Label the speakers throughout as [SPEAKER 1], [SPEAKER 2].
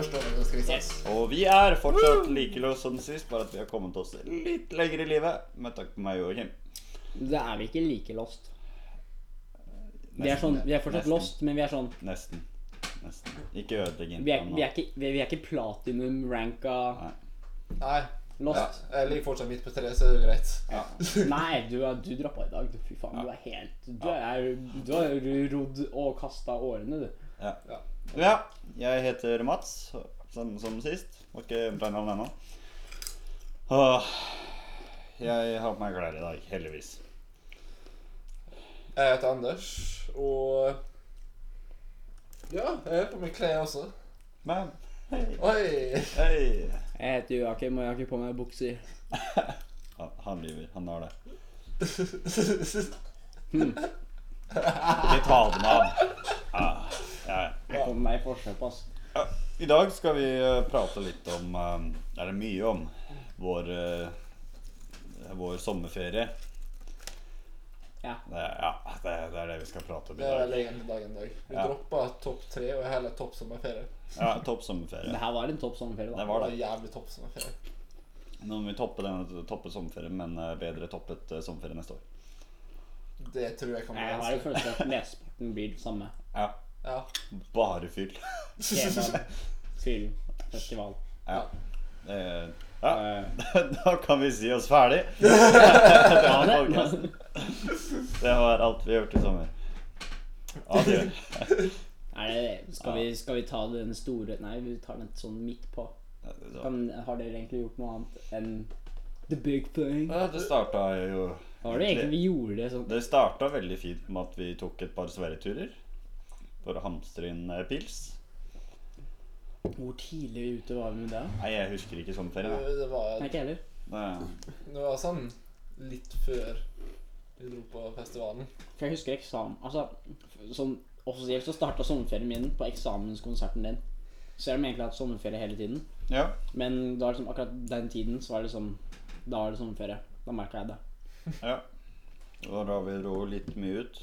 [SPEAKER 1] ikke sant?
[SPEAKER 2] Yes.
[SPEAKER 1] Og vi er fortsatt like løs som sist, bare at vi har kommet oss litt lenger i livet. Med takk på meg, Joakim.
[SPEAKER 2] Da er vi ikke like lost. Vi er,
[SPEAKER 1] Nesten,
[SPEAKER 2] sånn, vi er fortsatt
[SPEAKER 1] nesten,
[SPEAKER 2] lost, men vi er sånn
[SPEAKER 1] Nesten. Nesten. Ikke ødelegg
[SPEAKER 2] Vi er,
[SPEAKER 1] introen
[SPEAKER 2] vi
[SPEAKER 1] nå.
[SPEAKER 2] er ikke, vi vi er ikke platinum-ranka
[SPEAKER 1] Nei.
[SPEAKER 3] Nei. Ja,
[SPEAKER 2] lost.
[SPEAKER 3] jeg ligger fortsatt midt på treet, så det er greit.
[SPEAKER 1] Ja.
[SPEAKER 2] Nei, du, er- du droppa i dag. Du, fy faen, du er helt Du, er, du har rodd og kasta årene, du.
[SPEAKER 1] Ja.
[SPEAKER 3] Ja.
[SPEAKER 1] ja. Jeg heter Mats, samme som sist. Må ikke endre navn ennå. Åh, Jeg har på meg klær i dag, heldigvis.
[SPEAKER 3] Jeg heter Anders, og Ja, jeg har på meg klær også.
[SPEAKER 1] Men hei,
[SPEAKER 3] Oi!
[SPEAKER 1] hei.
[SPEAKER 2] Jeg heter Joakim, og jeg har ikke på meg bukser.
[SPEAKER 1] Han, han lyver. Han har det. Ikke ta det med han. Ah, Ja, ja.
[SPEAKER 2] Jeg kom meg i forsøk, ass.
[SPEAKER 1] Ja, I dag skal vi eh, prate litt om eh, Er det mye om vår, eh, vår sommerferie?
[SPEAKER 2] Ja.
[SPEAKER 1] Det, er- ja, det, er- det er det vi skal prate om i
[SPEAKER 3] Det er
[SPEAKER 1] dag.
[SPEAKER 3] legen til dagen i dag. Vi
[SPEAKER 1] Ja.
[SPEAKER 3] droppa topp tre og heller topp sommerferie.
[SPEAKER 1] Ja, Topp
[SPEAKER 2] Det
[SPEAKER 1] sommerferie.
[SPEAKER 2] her var en topp sommerferie,
[SPEAKER 1] Det
[SPEAKER 2] da.
[SPEAKER 3] Det
[SPEAKER 1] var
[SPEAKER 3] var
[SPEAKER 1] det.
[SPEAKER 3] jævlig topp sommerferie.
[SPEAKER 1] Nå må vi toppe den toppe sommerferien, men eh, bedre toppet eh, sommerferie neste år.
[SPEAKER 3] Det tror jeg kan bli
[SPEAKER 2] Jeg har en
[SPEAKER 3] vanskelig.
[SPEAKER 2] følelse at mesteparten blir det samme.
[SPEAKER 1] Ja,
[SPEAKER 3] Ja.
[SPEAKER 1] Bare fyll.
[SPEAKER 2] Kebab, fyll, festival.
[SPEAKER 1] Ja. Eh, ja.
[SPEAKER 2] Eh,
[SPEAKER 1] Da kan vi si oss ferdig.
[SPEAKER 2] ja, det.
[SPEAKER 1] Det var alt vi gjorde i sommer. Adjø.
[SPEAKER 2] Er det, skal, vi, skal vi ta den store Nei, vi tar den sånn midt på. Kan, har dere egentlig gjort noe annet enn the big thing?
[SPEAKER 1] Ja, Det starta jo
[SPEAKER 2] Har dere egentlig vi gjorde det sånn?
[SPEAKER 1] Det starta veldig fint med at vi tok et par sverreturer for å hamstre inn eh, pils.
[SPEAKER 2] Hvor tidlig ute var vi med det?
[SPEAKER 1] Nei, jeg husker ikke sommerferien. jeg.
[SPEAKER 3] Det var,
[SPEAKER 2] Nei, ikke heller.
[SPEAKER 1] Det-
[SPEAKER 3] det var sånn litt før vi dro på festivalen.
[SPEAKER 2] For jeg husker eksamen Altså, sånn offisielt så starta sommerferien min på eksamenskonserten din. Så jeg har egentlig hatt sommerferie hele tiden.
[SPEAKER 1] Ja.
[SPEAKER 2] Men da liksom, akkurat den tiden så var det liksom Da var det sommerferie. Da merka jeg det.
[SPEAKER 1] ja. Og da vi dro litt mye ut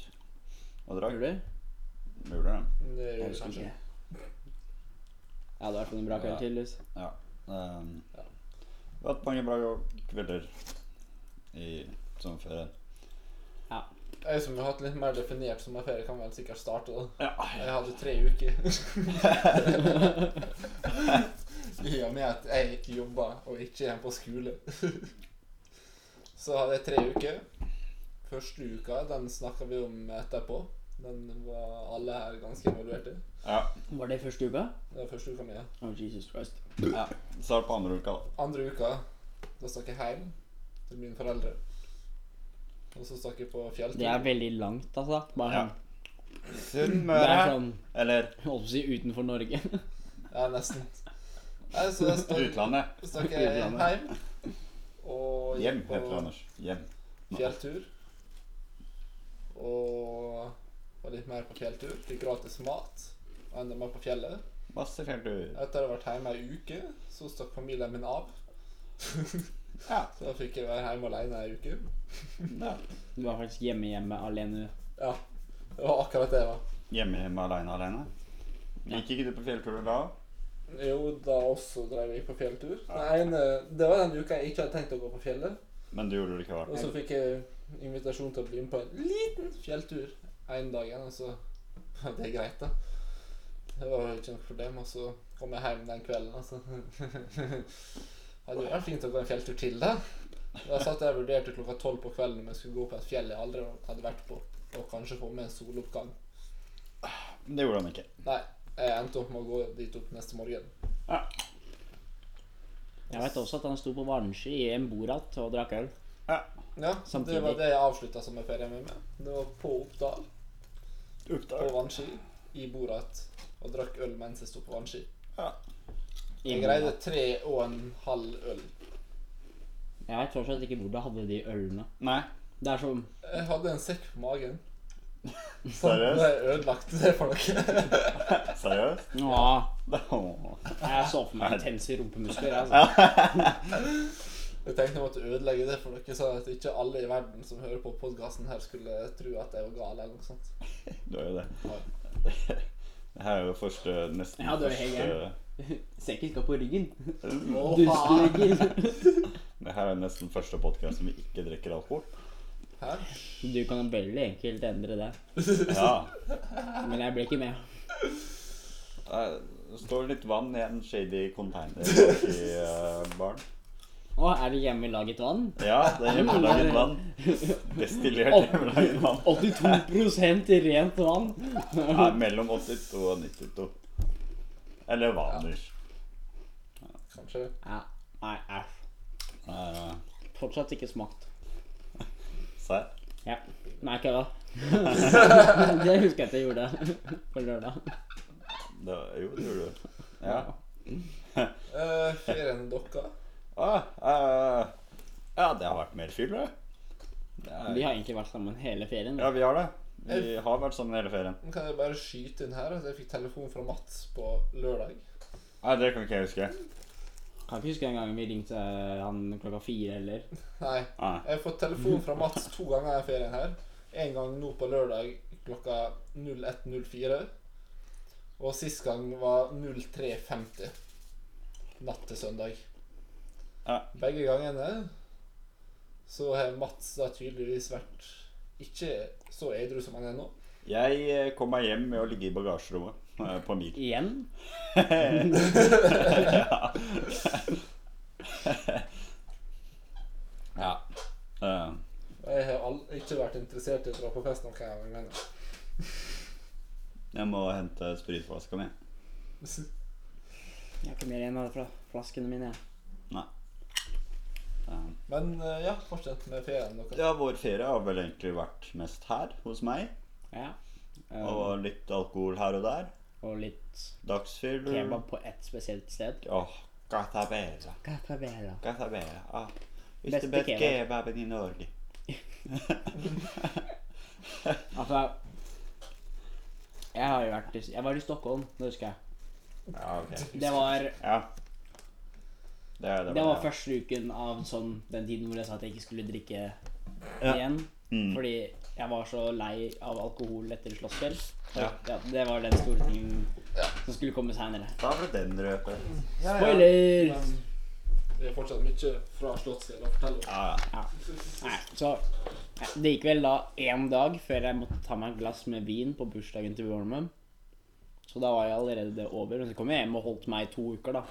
[SPEAKER 1] og drakk.
[SPEAKER 2] Gjorde du?
[SPEAKER 1] Mulig, det.
[SPEAKER 2] Jeg
[SPEAKER 3] Det gjorde
[SPEAKER 2] husker
[SPEAKER 3] kanskje
[SPEAKER 2] ikke. Jeg hadde i hvert fall en bra kveld,
[SPEAKER 1] Ja.
[SPEAKER 2] tydeligvis.
[SPEAKER 1] Ja. Um, vi har hatt mange bra kvelder i sommerferien.
[SPEAKER 3] Jeg som har hatt litt mer definert sommerferie, kan vel sikkert starte. da.
[SPEAKER 1] Ja.
[SPEAKER 3] Jeg hadde tre uker. I og med at jeg ikke jobba og ikke er på skole. Så hadde jeg tre uker. Første uka den snakka vi om etterpå. Den var alle her ganske involvert i.
[SPEAKER 1] ja.
[SPEAKER 2] Var det første uka?
[SPEAKER 3] Det var første uka mi. ja.
[SPEAKER 2] Oh, Jesus Christ.
[SPEAKER 1] ja. Start på andre uka, da.
[SPEAKER 3] Andre uka da stakk jeg hjem til mine foreldre. Og så stakk jeg på fjelltur.
[SPEAKER 2] Det er veldig langt, altså. Bare
[SPEAKER 1] Ja.
[SPEAKER 2] sånn. Det
[SPEAKER 1] Sunnmøre.
[SPEAKER 2] er sånn
[SPEAKER 1] Eller
[SPEAKER 2] jeg holdt på å si utenfor Norge.
[SPEAKER 3] Ja, nesten. Nei, så jeg stakk,
[SPEAKER 1] utlandet.
[SPEAKER 3] stakk jeg
[SPEAKER 2] Utlandet.
[SPEAKER 3] hjem. Og gikk
[SPEAKER 1] Hjem,
[SPEAKER 3] på-
[SPEAKER 1] heter det, Anders. Hjem.
[SPEAKER 3] fjelltur. Og var litt mer på fjelltur. Fikk gratis mat. og Enda mer på fjellet.
[SPEAKER 1] Masse fjelltur.
[SPEAKER 3] Etter å ha vært hjemme ei uke, så stakk familien min av.
[SPEAKER 1] Ja.
[SPEAKER 3] Så da fikk jeg være hjemme alene ei uke.
[SPEAKER 1] ja.
[SPEAKER 2] Du var faktisk hjemme hjemme alene.
[SPEAKER 3] Ja, det var akkurat det, da.
[SPEAKER 1] Hjemme hjemme aleine aleine? Gikk ikke du på fjellturer da?
[SPEAKER 3] Jo, da også drev jeg på fjelltur. Den ene, det var den uka jeg ikke hadde tenkt å gå på fjellet.
[SPEAKER 1] Men du gjorde det likevel.
[SPEAKER 3] Og så fikk jeg invitasjon til å bli med på en liten fjelltur en dag igjen, og så ja, Det er greit, da. Det var jo ikke noe problem. Og så kom jeg hjem den kvelden, og så Hadde jo vært fint å gå en fjelltur til, da. Da satt jeg og vurderte klokka tolv på kvelden om jeg skulle gå på et fjell jeg aldri hadde vært på, og kanskje få med en soloppgang.
[SPEAKER 1] Det gjorde han ikke.
[SPEAKER 3] Nei, jeg endte opp med å gå dit opp neste morgen.
[SPEAKER 2] Jeg vet også at han sto på Varnski i en borat og drakk øl.
[SPEAKER 3] Ja,
[SPEAKER 2] Samtidig.
[SPEAKER 3] Det var det jeg avslutta sommerferien min med. Det var på Oppdal, på
[SPEAKER 1] Oppdag.
[SPEAKER 3] vannski, i Borat, og drakk øl mens jeg sto på vannski.
[SPEAKER 2] I
[SPEAKER 3] Jeg greide tre og en halv øl.
[SPEAKER 2] Borat. Jeg vet fortsatt ikke hvor du hadde de ølene.
[SPEAKER 1] Nei,
[SPEAKER 2] Det er som
[SPEAKER 3] Jeg hadde en sekk på magen. Det
[SPEAKER 1] seriøst?
[SPEAKER 3] er ødelagt, det for dere.
[SPEAKER 1] Seriøst?
[SPEAKER 2] Åh,
[SPEAKER 1] Åh.
[SPEAKER 2] Jeg så for meg intense rumpemuskler. Altså.
[SPEAKER 1] Ja.
[SPEAKER 3] Jeg tenkte jeg måtte ødelegge det for dere, så at ikke alle i verden som hører på podkasten her, skulle tro at jeg var gal eller noe sånt.
[SPEAKER 1] Du er jo det. Det her er jo første, nesten
[SPEAKER 2] Ja, du er helt
[SPEAKER 1] første
[SPEAKER 2] Sekken skal på ryggen.
[SPEAKER 3] Å, faen.
[SPEAKER 2] Dustlegger.
[SPEAKER 1] Det her er nesten første podkast som vi ikke drikker alkohol.
[SPEAKER 3] Hæ?
[SPEAKER 2] Du kan veldig enkelt endre det.
[SPEAKER 1] Ja.
[SPEAKER 2] Men jeg ble ikke med.
[SPEAKER 1] Det står litt vann i en shady container bak i eh, baren.
[SPEAKER 2] Å, er det hjemmelaget vann?
[SPEAKER 1] Ja, det er hjemmelaget vann. Destillert hjemmelaget vann.
[SPEAKER 2] 82 rent vann.
[SPEAKER 1] Nei, mellom 82 og 92. Eller vaners.
[SPEAKER 3] Kanskje.
[SPEAKER 2] Ja, Nei, æsj.
[SPEAKER 1] Eh,
[SPEAKER 2] Fortsatt ikke smakt.
[SPEAKER 1] Serr?
[SPEAKER 2] Ja. Nei, kødda. det husker jeg at jeg gjorde på lørdag.
[SPEAKER 1] Det var- Jo, det gjorde du. Ja.
[SPEAKER 3] Uh, flere enn dere.
[SPEAKER 1] Ah, eh, ja, det har vært mer fyll, det. Det er-
[SPEAKER 2] Vi har Eh. egentlig vært sammen hele ferien.
[SPEAKER 1] Ja, vi har det. Vi har vært sammen hele ferien.
[SPEAKER 3] Men Kan jeg bare skyte inn her at jeg fikk telefon fra Mats på lørdag?
[SPEAKER 1] Nei, det kan ikke jeg huske.
[SPEAKER 2] Kan ikke huske den gangen vi ringte eh, han klokka fire, eller
[SPEAKER 3] Nei.
[SPEAKER 1] Nei.
[SPEAKER 3] Jeg har fått telefon fra Mats to ganger i ferien her. En gang nå på lørdag klokka 01.04. Og sist gang var 03.50. Natt til søndag.
[SPEAKER 1] Ja.
[SPEAKER 3] Begge gangene så har Mats da tydeligvis vært ikke så edru som han er nå.
[SPEAKER 1] Jeg eh, kom meg hjem med å ligge i bagasjerommet eh, på mil.
[SPEAKER 2] Igjen?
[SPEAKER 1] ja. ja. Eh,
[SPEAKER 3] Og jeg har all, ikke vært interessert i å dra på fest noen ganger.
[SPEAKER 1] jeg må hente spritflaska mi.
[SPEAKER 2] Jeg har ikke mer igjen av fra flaskene mine. jeg.
[SPEAKER 1] Eh,
[SPEAKER 3] Men eh, ja, fortsett med ferien deres.
[SPEAKER 1] Ja, vår ferie har vel egentlig vært mest her hos meg.
[SPEAKER 2] Ja. Um, og,
[SPEAKER 1] Og litt alkohol her og der.
[SPEAKER 2] litt
[SPEAKER 1] Dagsfyll.
[SPEAKER 2] kebab på ett spesielt sted.
[SPEAKER 1] Åh, Gatabela.
[SPEAKER 2] Catabella.
[SPEAKER 1] Gatabela. Ah. Hvis
[SPEAKER 2] Beste
[SPEAKER 1] du bet
[SPEAKER 2] kebab.
[SPEAKER 1] kebaben i Norge.
[SPEAKER 2] Altså Jeg har jo vært i Jeg var i Stockholm, det husker jeg.
[SPEAKER 1] Ja, ok.
[SPEAKER 2] Det var,
[SPEAKER 1] Ja. Det, det,
[SPEAKER 2] det var første uken av sånn den tiden hvor jeg sa at jeg ikke skulle drikke
[SPEAKER 1] Ja.
[SPEAKER 2] igjen.
[SPEAKER 1] Mm.
[SPEAKER 2] Fordi jeg var så lei av alkohol etter slåsskveld.
[SPEAKER 1] Ja.
[SPEAKER 2] Ja, det var den store tingen som skulle komme seinere.
[SPEAKER 1] Da ble den røpet. Ja,
[SPEAKER 2] Spoiler!
[SPEAKER 3] Men det er fortsatt mye fra Slottsfjell å fortelle om.
[SPEAKER 1] Ja, ja.
[SPEAKER 2] Nei, så nei, Det gikk vel da én dag før jeg måtte ta meg et glass med vin på bursdagen til broren min. Så da var jeg allerede over. Men så kom jeg hjem og holdt meg i to uker, da.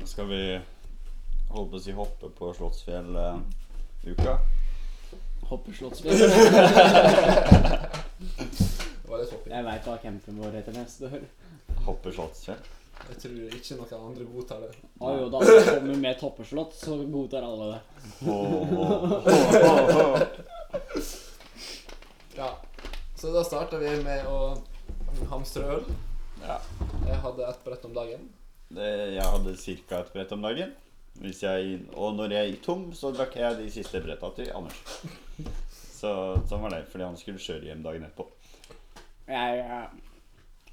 [SPEAKER 1] Nå skal vi holde på å si hoppe på Slottsfjell-uka.
[SPEAKER 2] Hopper slottsfjell.
[SPEAKER 3] Det var litt hopping.
[SPEAKER 2] Jeg veit hva campen vår heter neste år.
[SPEAKER 1] Hoppe Slottsfjell.
[SPEAKER 3] Jeg tror ikke noen andre godtar det.
[SPEAKER 2] Og jo, da alle kommer med toppeslott, så godtar alle det.
[SPEAKER 1] Åh, åh, åh, åh, åh.
[SPEAKER 3] Ja. Så da starta vi med å hamstre øl.
[SPEAKER 1] Ja.
[SPEAKER 3] Jeg hadde ett brett om dagen.
[SPEAKER 1] Det, jeg hadde ca. et brett om dagen. Hvis jeg, og når jeg gikk tom, så drakk jeg de siste bretta til Anders. Så sånn var det, fordi han skulle kjøre hjem dagen etterpå.
[SPEAKER 2] Jeg, jeg,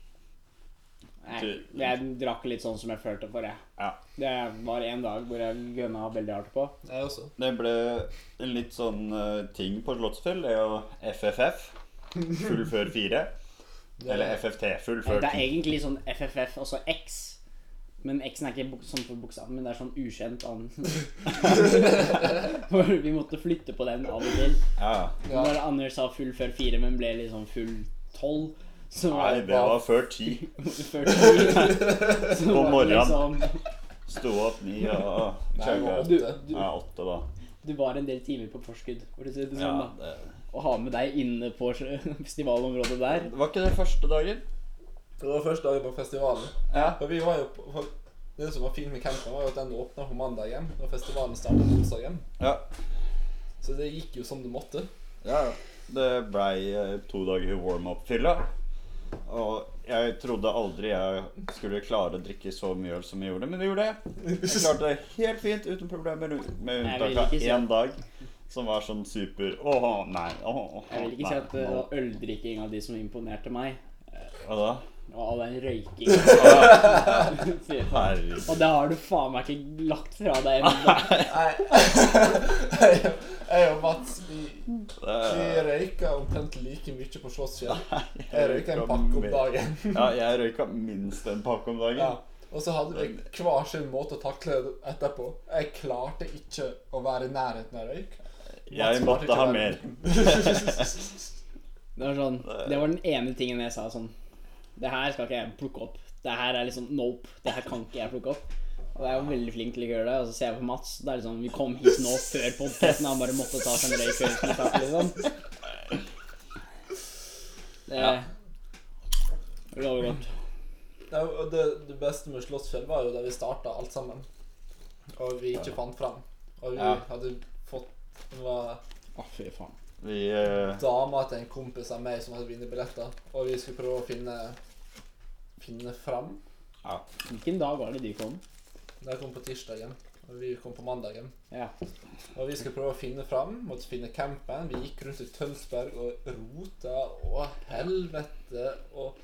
[SPEAKER 2] jeg,
[SPEAKER 1] Du-
[SPEAKER 2] jeg drakk litt sånn som jeg følte for, jeg.
[SPEAKER 1] Ja.
[SPEAKER 2] Det var en dag hvor jeg gønna veldig hardt på.
[SPEAKER 3] Jeg også.
[SPEAKER 1] Det ble en litt sånn eh, ting på Slottsfjell. Det er jo FFF. Full før fire.
[SPEAKER 3] Det-
[SPEAKER 1] Eller FFT. Full
[SPEAKER 2] Det
[SPEAKER 1] før
[SPEAKER 2] er
[SPEAKER 1] ti.
[SPEAKER 2] egentlig sånn FFF, altså X. Men X-en er ikke bok- sånn for bokstaven, men det er sånn ukjent annen. For vi måtte flytte på den av og til.
[SPEAKER 1] Ja.
[SPEAKER 3] Ja.
[SPEAKER 2] Når Anders sa full før fire, men ble liksom full tolv, så var
[SPEAKER 1] Nei,
[SPEAKER 2] det
[SPEAKER 1] det var før ti.
[SPEAKER 2] før ti. Så var
[SPEAKER 1] På
[SPEAKER 2] det
[SPEAKER 1] morgenen.
[SPEAKER 2] liksom-
[SPEAKER 1] Sto opp ni og
[SPEAKER 3] Nei,
[SPEAKER 1] chugga.
[SPEAKER 3] åtte.
[SPEAKER 2] du, du,
[SPEAKER 1] Ja, åtte, da.
[SPEAKER 2] du var en del timer på forskudd, for å si det
[SPEAKER 1] Ja,
[SPEAKER 2] sånn. da.
[SPEAKER 1] det,
[SPEAKER 2] Å ha med deg inne på festivalområdet der
[SPEAKER 1] det var ikke det første dagen?
[SPEAKER 3] Det var første dagen på festivalen.
[SPEAKER 1] Ja.
[SPEAKER 3] For vi var jo på, for Det som var fint med campen, var jo at den åpna på mandagen, og festivalen starta på onsdagen.
[SPEAKER 1] Ja.
[SPEAKER 3] Så det gikk jo som det måtte.
[SPEAKER 1] Ja, det blei eh, to dager warm-up-fylla. Og jeg trodde aldri jeg skulle klare å drikke så mye øl som jeg gjorde, men det gjorde jeg. Jeg klarte det helt fint uten problemer, med
[SPEAKER 2] Nei, jeg vil
[SPEAKER 1] unntak av
[SPEAKER 2] ikke si
[SPEAKER 1] én dag som var sånn super Åh, nei. åh, åh,
[SPEAKER 2] Jeg vil ikke
[SPEAKER 1] nei,
[SPEAKER 2] si at det
[SPEAKER 1] nå».
[SPEAKER 2] var øldrikking av de som imponerte meg.
[SPEAKER 1] Hva da?
[SPEAKER 2] Og all den røykinga. Fy faen.
[SPEAKER 1] Herregud.
[SPEAKER 2] Og det har du faen meg ikke lagt fra deg ennå.
[SPEAKER 3] Nei. jeg, jeg og Mats vi, vi
[SPEAKER 1] Det-
[SPEAKER 3] røyka omtrent like mye på Slottsfjell. Jeg røyka en pakke om dagen.
[SPEAKER 1] Ja, jeg røyka minst en pakke om dagen.
[SPEAKER 3] Ja. Og så hadde vi hver sin måte å takle det etterpå. Jeg klarte ikke å være i nærheten av røyk.
[SPEAKER 1] Jeg måtte ha mer.
[SPEAKER 2] Det var sånn, det var den ene tingen jeg sa sånn Det her skal ikke jeg plukke opp. Det her er liksom nope. Det her kan ikke jeg plukke opp. Og jeg er jo veldig flink til å gjøre det. Og så ser jeg på Mats. Det er liksom, Vi kom hit nå før podkasten. Han bare måtte ta seg en røyk før vi skulle starte. Liksom. Det
[SPEAKER 1] Ja.
[SPEAKER 2] det lover godt.
[SPEAKER 3] Det, og det, det beste med Slottsfjell var jo da vi starta alt sammen, og vi ikke fant fram. Og vi
[SPEAKER 1] Ja.
[SPEAKER 3] hadde fått det var
[SPEAKER 2] Å, fy faen.
[SPEAKER 1] Vi eh,
[SPEAKER 3] dama til en kompis av meg som hadde vinnerbilletter, og vi skulle prøve å finne finne fram.
[SPEAKER 1] Ja.
[SPEAKER 2] Hvilken dag var det de kom?
[SPEAKER 3] De kom på tirsdagen, og vi kom på mandagen.
[SPEAKER 2] Ja.
[SPEAKER 3] Og vi skulle prøve å finne fram, måtte finne campen. Vi gikk rundt i Tønsberg og rota og helvete og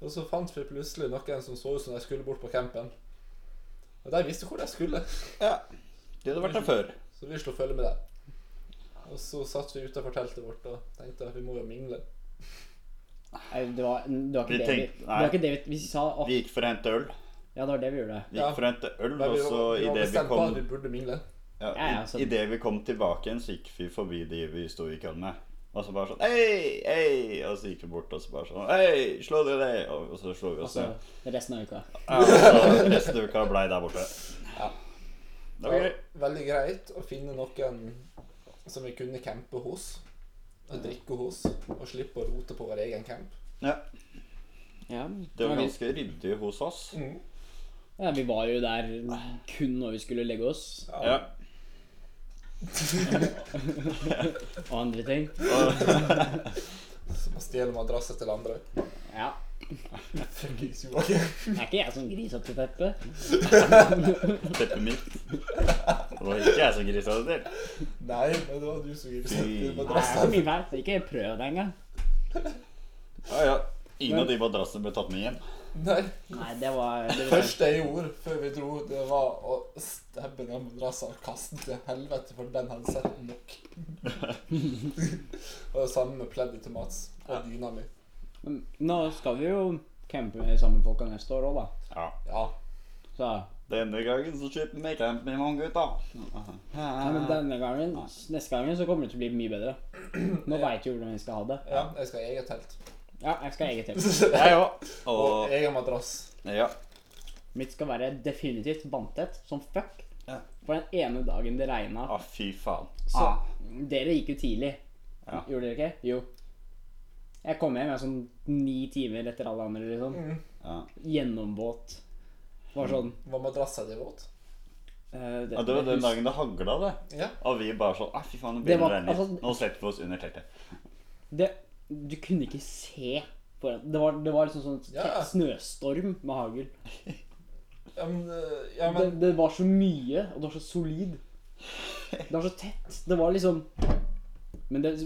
[SPEAKER 3] Og så fant vi plutselig noen som så ut som de skulle bort på campen. Og de visste hvor de skulle,
[SPEAKER 1] ja. De hadde vært der før.
[SPEAKER 3] så vi slo følge med dem. Og så satt vi utafor teltet vårt og tenkte at vi må jo mingle.
[SPEAKER 2] Nei, Det var, det var,
[SPEAKER 1] Vi
[SPEAKER 2] ikke, det vi,
[SPEAKER 1] tenkte-
[SPEAKER 2] det
[SPEAKER 1] nei.
[SPEAKER 2] var ikke det vi Vi sa å,
[SPEAKER 1] Vi gikk for å hente øl.
[SPEAKER 2] Ja, det var det vi gjorde.
[SPEAKER 1] Vi
[SPEAKER 3] Ja.
[SPEAKER 1] gikk for å hente øl,
[SPEAKER 3] Men
[SPEAKER 1] og
[SPEAKER 3] vi
[SPEAKER 1] så
[SPEAKER 3] var, vi var
[SPEAKER 1] idet vi
[SPEAKER 3] bestemt på
[SPEAKER 1] kom
[SPEAKER 3] at vi burde mingle.
[SPEAKER 1] ja,
[SPEAKER 2] Ja, ja, så-
[SPEAKER 1] i, i det vi kom tilbake igjen, så gikk vi forbi de vi sto i køen med. Og så bare sånn Hei, hei! Og så gikk vi bort og så bare sånn Hei, slå dere ned! Og, og så slo vi oss
[SPEAKER 2] Altså,
[SPEAKER 1] ned.
[SPEAKER 2] resten av uka.
[SPEAKER 1] Ja, og så resten av uka blei der borte.
[SPEAKER 3] Ja.
[SPEAKER 1] Det var gøy.
[SPEAKER 3] veldig greit å finne noen som vi kunne campe hos. Og drikke hos, og slippe å rote på vår egen camp.
[SPEAKER 1] Ja,
[SPEAKER 2] Ja,
[SPEAKER 1] det var
[SPEAKER 2] gøy.
[SPEAKER 1] ganske ryddig hos oss.
[SPEAKER 2] Ja, vi var jo der kun når vi skulle legge oss,
[SPEAKER 1] Ja.
[SPEAKER 2] og andre ting.
[SPEAKER 1] Og,
[SPEAKER 3] Som å stjele madrasser til andre.
[SPEAKER 2] Ja,
[SPEAKER 3] Fuckings Joakim.
[SPEAKER 2] det er ikke jeg som griser til teppet.
[SPEAKER 1] teppet mitt. Det var ikke jeg som grisa det til.
[SPEAKER 3] Nei, men det var du som gikk
[SPEAKER 1] Fy.
[SPEAKER 3] til
[SPEAKER 2] Det er så
[SPEAKER 3] madrassen.
[SPEAKER 2] mye feil, så ikke prøv det engang.
[SPEAKER 1] Ja, ja. Ingen av de madrassene ble tatt med hjem.
[SPEAKER 3] Nei.
[SPEAKER 2] Nei, det var, det
[SPEAKER 3] Det
[SPEAKER 2] var
[SPEAKER 3] første jeg gjorde før vi dro, det var å stabbe den madrassen og kaste den til helvete, for den hadde sett nok. og det samme med pleddet til Mats og dyna mi.
[SPEAKER 2] Men Nå skal vi jo campe med de samme folka neste år òg, da.
[SPEAKER 1] Ja.
[SPEAKER 3] Ja.
[SPEAKER 2] Så
[SPEAKER 1] Denne gangen så slipper vi camp med mange gutta.
[SPEAKER 2] Nei, men
[SPEAKER 1] Ah.
[SPEAKER 2] denne gangen, neste gangen så kommer det til å bli mye bedre. Nå veit vi hvordan vi skal ha det.
[SPEAKER 3] ja. Jeg skal ha eget telt.
[SPEAKER 2] Ja, jeg skal ha eget til.
[SPEAKER 1] Jeg òg.
[SPEAKER 3] Og
[SPEAKER 1] Og
[SPEAKER 3] egen madrass.
[SPEAKER 1] ja.
[SPEAKER 2] Mitt skal være definitivt vanntett som fuck.
[SPEAKER 1] Ja.
[SPEAKER 2] For den ene dagen det regna
[SPEAKER 1] Å, fy faen.
[SPEAKER 2] Så
[SPEAKER 1] Ah.
[SPEAKER 2] dere gikk jo tidlig.
[SPEAKER 1] Ja.
[SPEAKER 2] Gjorde dere ikke? Jo. Jeg kom hjem jeg er sånn ni timer etter alle andre, liksom.
[SPEAKER 3] Mm.
[SPEAKER 1] Ja.
[SPEAKER 2] Gjennomvåt. Var sånn
[SPEAKER 3] Var madrassa di våt?
[SPEAKER 2] eh,
[SPEAKER 1] ja, det var den
[SPEAKER 2] hus-
[SPEAKER 1] dagen det hagla, det.
[SPEAKER 3] Ja.
[SPEAKER 1] Og vi bare sånn Å, fy faen, nå
[SPEAKER 2] Det
[SPEAKER 1] begynner
[SPEAKER 2] var-
[SPEAKER 1] det å
[SPEAKER 2] altså-
[SPEAKER 1] regne. Nå slipper vi oss under teltet.
[SPEAKER 2] det, Du kunne ikke se foran Det var, det var liksom sånn
[SPEAKER 3] Ja.
[SPEAKER 2] tett snøstorm med hagl.
[SPEAKER 3] Ja, men, øh, ja,
[SPEAKER 2] Det,
[SPEAKER 3] men
[SPEAKER 2] det var så mye, og det var så solid. Det var så tett. Det var liksom Men det